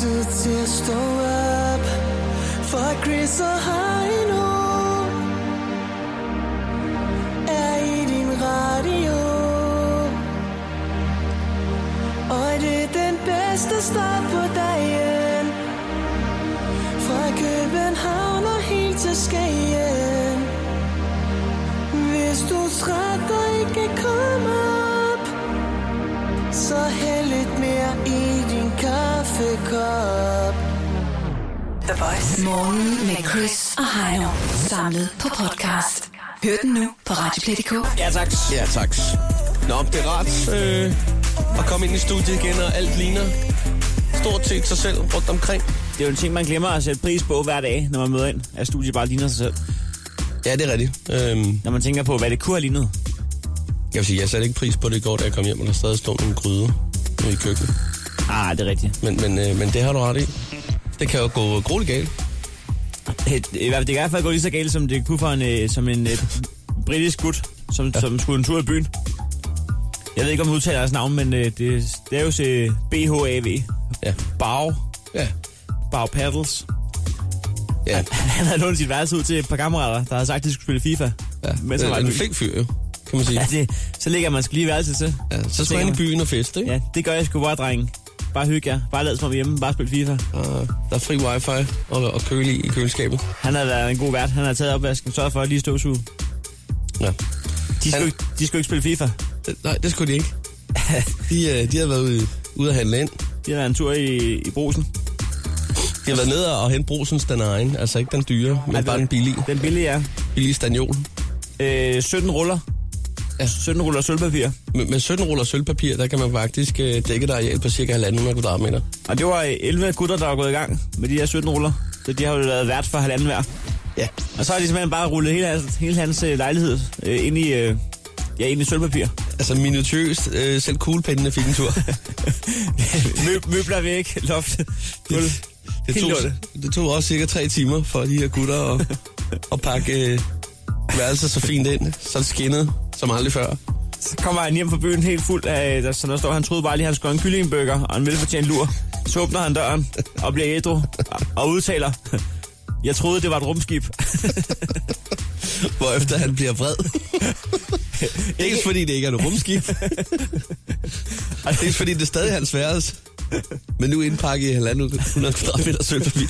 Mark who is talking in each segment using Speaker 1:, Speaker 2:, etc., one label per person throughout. Speaker 1: tid til at stå op For Chris og Heino Er i din radio Og det er den bedste start på dagen Fra København og helt til Skagen Hvis du er træt og ikke kan komme op Så hæld lidt mere i din kaffekop
Speaker 2: The Voice.
Speaker 3: Morgen med Chris og Heino. Samlet på podcast. Hør den nu på Radioplay.dk.
Speaker 4: Ja, tak.
Speaker 5: Ja, tak.
Speaker 4: Nå, det er rart øh, at komme ind i studiet igen, og alt ligner stort set sig selv rundt omkring.
Speaker 6: Det er jo en ting, man glemmer at sætte pris på hver dag, når man møder ind, at studiet bare ligner sig selv.
Speaker 4: Ja, det er rigtigt. Øhm,
Speaker 6: Når man tænker på, hvad det kunne have lignet.
Speaker 4: jeg vil sige, jeg satte ikke pris på det i går, da jeg kom hjem, og der stadig stod en gryde ude i køkkenet.
Speaker 6: Ah, det er rigtigt.
Speaker 4: Men, men, øh, men det har du ret i. Det kan jo gå grueligt galt.
Speaker 6: Øh, Det, det kan i hvert fald gå lige så galt, som det kunne for en, øh, som en øh, britisk gut, som, ja. som skulle en tur i byen. Jeg ved ikke, om du udtaler hans navn, men øh, det, det er jo øh, BHAV.
Speaker 4: Ja.
Speaker 6: Bag.
Speaker 4: Ja.
Speaker 6: Bag Paddles.
Speaker 4: Ja.
Speaker 6: Han havde lånt sit værelse ud til et par kammerater, der havde sagt, at de skulle spille FIFA.
Speaker 4: ja.
Speaker 6: Øh,
Speaker 4: Øh,
Speaker 6: Men så var
Speaker 4: en,
Speaker 6: det
Speaker 4: en
Speaker 6: ny.
Speaker 4: flink fyr, jo, kan man sige.
Speaker 6: Ja, det, så ligger man sgu lige værelse til.
Speaker 4: Ja, så
Speaker 6: tænker
Speaker 4: skulle han i
Speaker 6: man-
Speaker 4: byen og feste, ikke?
Speaker 6: Ja, det gør jeg sgu bare, drenge. Bare hygge jer. Bare lad som om I er hjemme. Bare spil FIFA.
Speaker 4: Og der er fri wifi og, og køle i, i køleskabet.
Speaker 6: Han har været en god vært. Han har taget opvasken. Sørget for at lige støvsuge.
Speaker 4: Ja.
Speaker 6: De skulle,
Speaker 4: Han-
Speaker 6: ikke, de skulle ikke spille FIFA.
Speaker 4: Det, nej, det skulle de ikke. De, øh, de har været ude, ude at handle ind.
Speaker 6: De har været en tur i, i brusen.
Speaker 4: De har været nede og hente brusens den egen. Altså ikke den dyre, men bare den billige.
Speaker 6: Den billige er
Speaker 4: Billige stagnol.
Speaker 6: øh, 17 ruller.
Speaker 4: Ja.
Speaker 6: 17 ruller sølvpapir.
Speaker 4: Med, med 17 ruller sølvpapir, der kan man faktisk øh, dække et areal på cirka 1,5 kvadratmeter.
Speaker 6: Og det var øh, 11 gutter, der var gået i gang med de her 17 ruller. Så de har jo været vært for halvanden hver.
Speaker 4: Ja.
Speaker 6: Og så har de simpelthen bare rullet hele, hans- hele hans øh, lejlighed øh, ind i... Øh, ja, ind i sølvpapir.
Speaker 4: Altså minutiøst, øh, selv kuglepindene fik en tur.
Speaker 6: Møb, møbler væk, loft, gulv.
Speaker 4: det,
Speaker 6: Helt
Speaker 4: tog,
Speaker 6: lortet.
Speaker 4: det tog også cirka 3 timer for de her gutter at, at pakke øh, værelset så fint ind, så det skinnede som aldrig før.
Speaker 6: Så kommer han hjem fra byen helt fuld af, der, så der står, han troede bare lige, han skulle have en kyllingbøger og en velfortjent lur. Så åbner han døren og bliver ædru og, og udtaler, jeg troede, det var et rumskib.
Speaker 4: Hvorefter han bliver vred. Dels fordi det ikke er et rumskib. Dels fordi det er stadig hans værelse. Men nu indpakket i halvandet 100 kvadratmeter sølvpapir.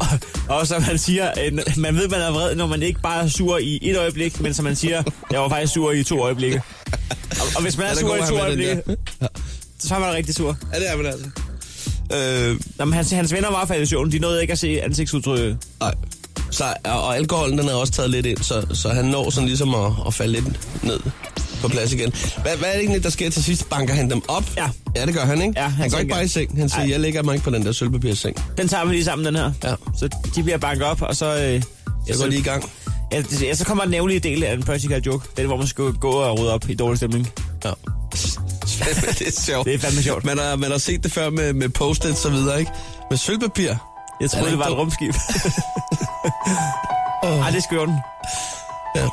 Speaker 6: og, og som han siger, øh, man ved, man er vred, når man ikke bare er sur i et øjeblik, men som man siger, jeg var faktisk sur i to øjeblikke. Og, og hvis man er,
Speaker 4: Ja, der
Speaker 6: sur i
Speaker 4: kommer
Speaker 6: to
Speaker 4: han med den
Speaker 6: øjeblikke, så er man rigtig sur.
Speaker 4: Ja, det er man altså. Øh,
Speaker 6: Nå, men hans, hans venner var faldet i søvn, de nåede ikke at se ansigtsudtrykket.
Speaker 4: nej. Så, og og alkoholen den er også taget lidt ind, så, så han når sådan ligesom at, at falde lidt ned på plads igen. Hvad, hvad er det egentlig, der sker til sidst? Banker han dem op?
Speaker 6: Ja.
Speaker 4: Ja, det gør han, ikke?
Speaker 6: Ja, han
Speaker 4: han går ikke
Speaker 6: tænker-
Speaker 4: bare i seng. Han siger,
Speaker 6: Ej.
Speaker 4: jeg lægger mig ikke på den der sølvpapirseng.
Speaker 6: Den tager vi lige sammen, den her.
Speaker 4: Ja.
Speaker 6: Så de bliver banket op, og så... Øh,
Speaker 4: Jeg går lige i gang.
Speaker 6: Ja, det- ja, så kommer den nævnlige del af en practical joke. Den, hvor man skal gå og rydde op i dårlig stemning.
Speaker 4: Ja. det er sjovt.
Speaker 6: Det er fandme sjovt.
Speaker 4: Man har, man har set det før med, med post og så videre, ikke? Med sølvpapir.
Speaker 6: Jeg
Speaker 4: Er det
Speaker 6: troede, det var et
Speaker 4: ikke
Speaker 6: rumskib. Ej, det er skørt.
Speaker 4: Ja.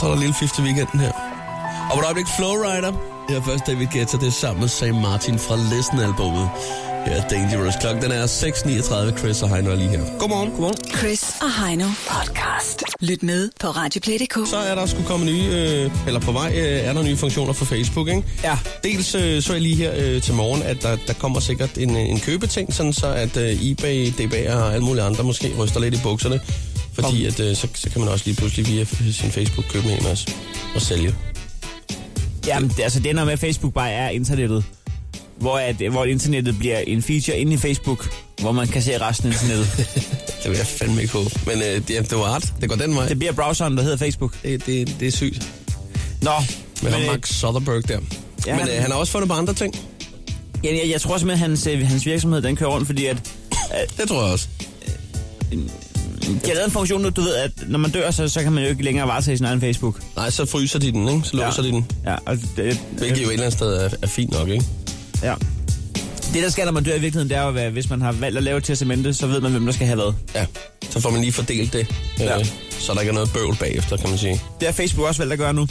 Speaker 4: Så er der lille fifte weekenden her. Og på et øjeblik Flowrider. Her er først David Guetta, det er sammen med Sam Martin fra Listen-albummet. Her er Dangerous. Klokken den er 6.39. Chris og Heino er lige her. Godmorgen. Godmorgen.
Speaker 3: Chris og Heino podcast. Lyt med på Radioplay.dk.
Speaker 4: Så er der skulle komme nye, øh, eller på vej øh, er der nye funktioner for Facebook, ikke?
Speaker 6: Ja.
Speaker 4: Dels øh, så jeg lige her øh, til morgen, at der, der kommer sikkert en, øh, en købeting, sådan så at øh, eBay, DBA og alle mulige andre måske ryster lidt i bukserne. Fordi at, øh, så, så kan man også lige pludselig via f- sin Facebook købe en og, s- og sælge.
Speaker 6: Jamen, det, altså, det ender med, at Facebook bare er internettet. Hvor, at, hvor internettet bliver en feature inde i Facebook, hvor man kan se resten af internettet.
Speaker 4: Det vil jeg fandme ikke håbe. Men øh, det, jamen, det var art. Det går den vej.
Speaker 6: det
Speaker 4: Det,
Speaker 6: bliver browseren, der hedder Facebook.
Speaker 4: det, det, det er sygt.
Speaker 6: Nå,
Speaker 4: Med
Speaker 6: men,
Speaker 4: ham
Speaker 6: øh,
Speaker 4: Mark Zuckerberg der.
Speaker 6: Ja,
Speaker 4: Ja, Men
Speaker 6: han-
Speaker 4: øh, han har også fundet på andre ting.
Speaker 6: jeg, jeg, jeg tror simpelthen, at hans, øh, hans virksomhed den kører rundt, fordi at,
Speaker 4: Det tror jeg også.
Speaker 6: de har lavet en funktion nu, du ved, at når man dør, så, så kan man jo ikke længere varetage sin egen Facebook.
Speaker 4: Nej, så fryser de den, ikke? Så låser ja. de den.
Speaker 6: Ja, og øh, det,
Speaker 4: Hvilket jo et eller andet sted er, er fint nok, ikke?
Speaker 6: Ja. Det, der sker, når man dør i virkeligheden, det er jo, at hvis man har valgt at lave et testamente, så ved man, hvem der skal have hvad.
Speaker 4: Ja, så får man lige fordelt det, ja.
Speaker 6: Ja.
Speaker 4: øh, så der ikke er noget bøvl bagefter, kan man sige.
Speaker 6: Det har Facebook også valgt at gøre nu.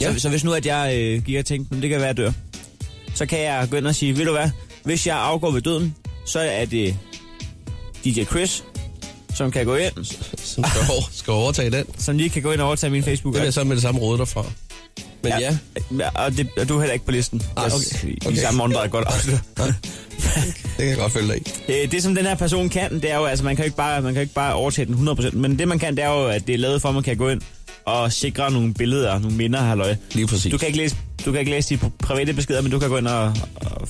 Speaker 6: Ja.
Speaker 4: Ja.
Speaker 6: Så, så hvis nu, at jeg øh, giver og tænker, "Nå, det kan være, at jeg dør, så kan jeg gå ind og sige, ved du hvad, hvis jeg afgår ved døden, så er det DJ Chris, som kan gå ind,
Speaker 4: Som skal, over, skal overtage den. Det
Speaker 6: som lige kan gå ind og overtage min facebook
Speaker 4: vil jeg så med det samme råde derfra. Men ja, ja
Speaker 6: Og, det, og du er heller ikke på listen.
Speaker 4: Ah,
Speaker 6: Jeg-
Speaker 4: okay.
Speaker 6: I
Speaker 4: Okay.
Speaker 6: samme åndedræt godt afsløre.
Speaker 4: det kan jeg godt følge dig i.
Speaker 6: Øh, det, som den her person kan, det er jo, altså man kan jo ikke bare, man kan jo ikke bare overtage den 100%, men det man kan, det er jo, at det er lavet for, at man kan gå ind og sikre nogle billeder, nogle minder, halløj.
Speaker 4: Lige præcis.
Speaker 6: Du kan ikke læse, du kan ikke læse de private beskeder, men du kan gå ind og, og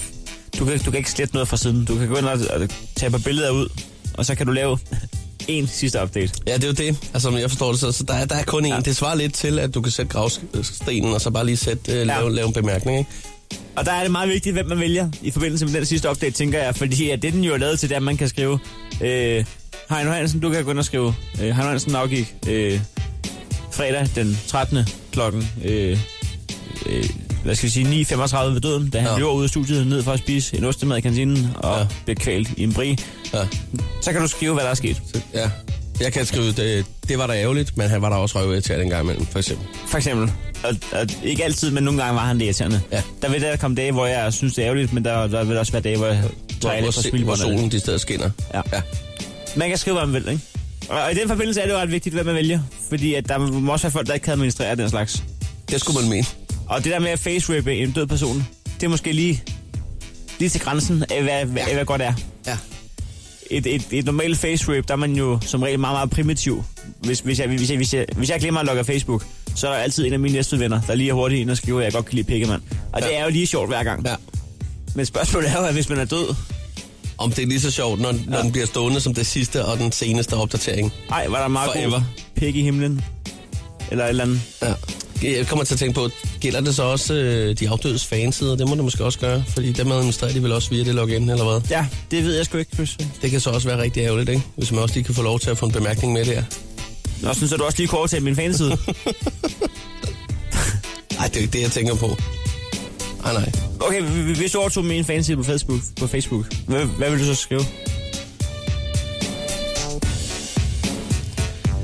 Speaker 6: du, kan, du kan ikke slette noget fra siden. Du kan gå ind og, og tage et par billeder ud, og så kan du lave en sidste update.
Speaker 4: Ja, det er jo det. Altså, som jeg forstår det, så, så der, er, der er kun én. Ja. Det svarer lidt til, at du kan sætte gravstenen, og så bare lige sætte, øh, lave, lave en bemærkning, ikke?
Speaker 6: Og der er det meget vigtigt, hvem man vælger i forbindelse med den sidste update, tænker jeg. Fordi at det, den jo er lavet til, det er, at man kan skrive... Øh, Heino Hansen, du kan gå ind og skrive... Øh, Heino Hansen afgik øh, fredag den 13. klokken... Øh, øh, hvad skal vi sige, 9.35 ved døden, da han
Speaker 4: Ja.
Speaker 6: ja. løber ud af studiet ned for at spise en ostemad i kantinen og
Speaker 4: Ja.
Speaker 6: ja. blev kvalt i en brie.
Speaker 4: Ja.
Speaker 6: Så kan du skrive, hvad der er sket.
Speaker 4: Så, ja. Jeg kan skrive, det, det var da ærgerligt, men han var da også røvet til en gang imellem, for eksempel.
Speaker 6: For eksempel, og, og ikke altid, men nogle gange var han det irriterende.
Speaker 4: Ja.
Speaker 6: Der vil der komme dage, hvor jeg synes, det er ærgerligt, men der, der vil også være dage, hvor jeg
Speaker 4: Hvor,
Speaker 6: træder lidt fra
Speaker 4: hvor, hvor
Speaker 6: smilbåndet.
Speaker 4: solen de steder skinner.
Speaker 6: Ja.
Speaker 4: ja.
Speaker 6: Man kan skrive, hvad man vil, ikke? Og og i den forbindelse er det jo ret vigtigt, hvad man vælger. Fordi at der må også være folk, der ikke kan administrere den slags.
Speaker 4: Det skulle man mene.
Speaker 6: Og det der med at face en død person, det er måske lige, lige til grænsen af, hvad, hvad, hvad godt er.
Speaker 4: Ja.
Speaker 6: Et, et, et normalt face rape, der er man jo som regel meget, meget primitiv. Hvis, hvis, jeg, hvis, jeg, hvis, jeg, hvis jeg glemmer at logge af Facebook, så er der altid en af mine næste venner, der lige er hurtigt ind og skriver, at jeg godt kan lide pikkemand. Og
Speaker 4: Ja.
Speaker 6: det er jo lige sjovt hver gang.
Speaker 4: ja.
Speaker 6: Men spørgsmålet er jo, at hvis man er død,
Speaker 4: Om det er lige så sjovt, når, når den bliver stående som det sidste og den seneste opdatering.
Speaker 6: ej, var der meget god
Speaker 4: Forever.
Speaker 6: pik i himlen? Eller et eller andet.
Speaker 4: Ja. Jeg kommer til at tænke på, gælder det så også øh, de afdødes fansider? Det må det måske også gøre, fordi dem administrerer de vel også via det login, eller hvad?
Speaker 6: Ja, det ved jeg sgu ikke, Chris.
Speaker 4: Det kan så også være rigtig ærgerligt, ikke? Hvis man også lige kan få lov til at få en bemærkning med der.
Speaker 6: Nå, synes jeg, du også lige kunne overtage min fanside.
Speaker 4: Nej, det er ikke det, jeg tænker på. Ej, nej.
Speaker 6: Okay, h- h- hvis du overtog min fanside på Facebook, på Facebook hvad, hvad vil du så skrive?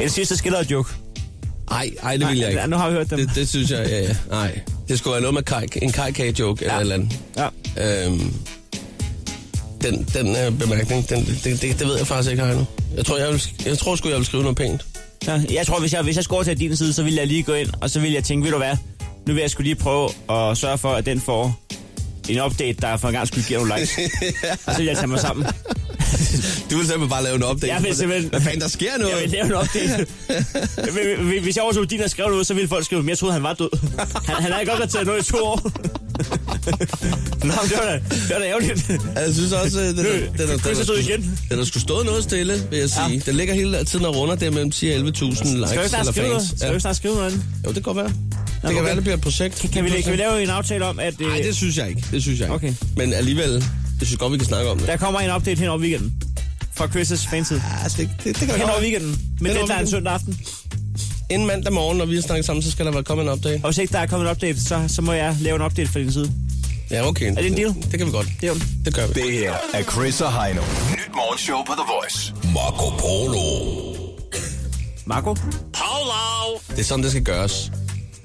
Speaker 6: En sidste skiller og joke.
Speaker 4: Ej, ej, det vil jeg
Speaker 6: Nej,
Speaker 4: ikke.
Speaker 6: Nu har vi hørt dem.
Speaker 4: Det, det synes jeg, ja, ja. Nej. Det skulle være noget med kaj, en kajkage-joke eller et eller andet.
Speaker 6: Ja.
Speaker 4: Øhm, den, den øh, bemærkning, den, det, det, det ved jeg faktisk ikke, Heino. Jeg tror, jeg, vil, sk- jeg tror sgu, jeg vil skrive noget pænt.
Speaker 6: ja. Jeg tror, hvis jeg, hvis jeg skulle overtage din side, så ville jeg lige gå ind, og så ville jeg tænke, ved du hvad, nu vil jeg skulle lige prøve at sørge for, at den får en update, der for en gang skulle give nogle likes. Og så vil jeg tage mig sammen.
Speaker 4: Du vil simpelthen bare lave en opdate.
Speaker 6: Jeg vil simpelthen-
Speaker 4: Hvad fanden, der sker noget?
Speaker 6: Jeg vil lave en update. Hvis- hvis- Hvis jeg overtog din og skrev noget, så ville folk skrive, at jeg troede, han var død. Han, han har ikke opdateret noget i to år. Nå, men det var da, det var da ærgerligt.
Speaker 4: Jeg synes også, øh, den, den, den, den,
Speaker 6: Chris er død igen.
Speaker 4: den har sgu stået noget stille, vil jeg sige. Ja. Den ligger hele tiden og runder der mellem 10 og 11.000 likes
Speaker 6: Skal vi ikke snart
Speaker 4: eller
Speaker 6: skrive noget?
Speaker 4: fans.
Speaker 6: Skal vi ikke snart skrive noget? andet?
Speaker 4: Jo, det kan godt være. Det
Speaker 6: okay.
Speaker 4: kan være, det bliver et projekt.
Speaker 6: Kan vi, kan vi lave en aftale om, at
Speaker 4: Nej,
Speaker 6: øh,
Speaker 4: det synes jeg ikke. Det synes jeg ikke.
Speaker 6: Okay.
Speaker 4: Men alligevel, jeg synes godt, vi kan snakke om det.
Speaker 6: der kommer en update hen over weekenden? Fra Chris' fanside.
Speaker 4: Ja, altså, det, det, det
Speaker 6: Hen
Speaker 4: kan godt
Speaker 6: over
Speaker 4: være.
Speaker 6: weekenden. Men
Speaker 4: over
Speaker 6: det er en
Speaker 4: weekenden.
Speaker 6: søndag aften.
Speaker 4: Inden mandag morgen, når vi har snakket sammen, så skal der være kommet en opdag.
Speaker 6: Og hvis ikke der er kommet en update, så, så må jeg lave en update fra din side.
Speaker 4: Ja, okay. Er
Speaker 6: det en deal?
Speaker 4: Det, det kan vi godt.
Speaker 6: Det er jo
Speaker 4: Det gør vi.
Speaker 5: Det her er Chris og Heino. Nyt morgenshow på The Voice.
Speaker 4: Marco Polo.
Speaker 6: Marco?
Speaker 4: Det er sådan, det skal gøres.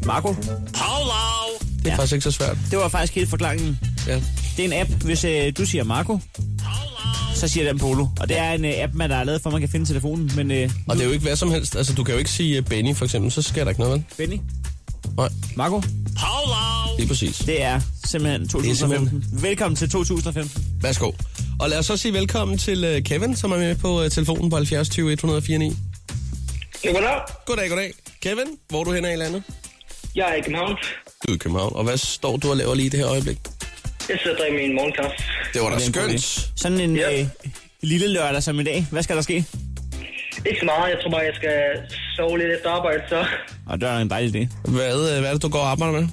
Speaker 6: Marco?
Speaker 4: Det er
Speaker 6: Ja.
Speaker 4: ja. faktisk ikke så svært.
Speaker 6: Det var faktisk hele forklaringen.
Speaker 4: Ja.
Speaker 6: Det er en app, hvis øh, du siger Marco, så siger den Polo. Og det er en øh, app, man der er lavet for, at man kan finde telefonen. Men øh,
Speaker 4: Og det er jo ikke hvad som helst. Altså, du kan jo ikke sige øh, Benny, for eksempel. Så sker der ikke noget, vel?
Speaker 6: Benny,
Speaker 4: Nej,
Speaker 6: Marco,
Speaker 4: lige præcis.
Speaker 6: det er simpelthen 2015. Er simpelthen. Velkommen til 2015.
Speaker 4: Værsgo. Og lad os så sige velkommen til øh, Kevin, som er med på øh, telefonen på 70 20 149.
Speaker 7: Ja, goddag.
Speaker 4: Goddag, goddag. Kevin, hvor er du henne i landet?
Speaker 7: Jeg er i København.
Speaker 4: Du er i København. Og hvad står du og laver lige i det her øjeblik?
Speaker 7: Jeg sidder og drikker min morgenkaffe.
Speaker 4: Det var da
Speaker 6: Det er en god
Speaker 4: skønt.
Speaker 6: idé. Sådan en
Speaker 7: Ja.
Speaker 6: øh, lille lørdag som i dag. Hvad skal der ske?
Speaker 7: Ikke så meget. Jeg tror bare, jeg skal sove lidt efter arbejde, så
Speaker 6: Og det er en dejlig idé.
Speaker 4: Hvad, øh, hvad er det, du går og arbejder med?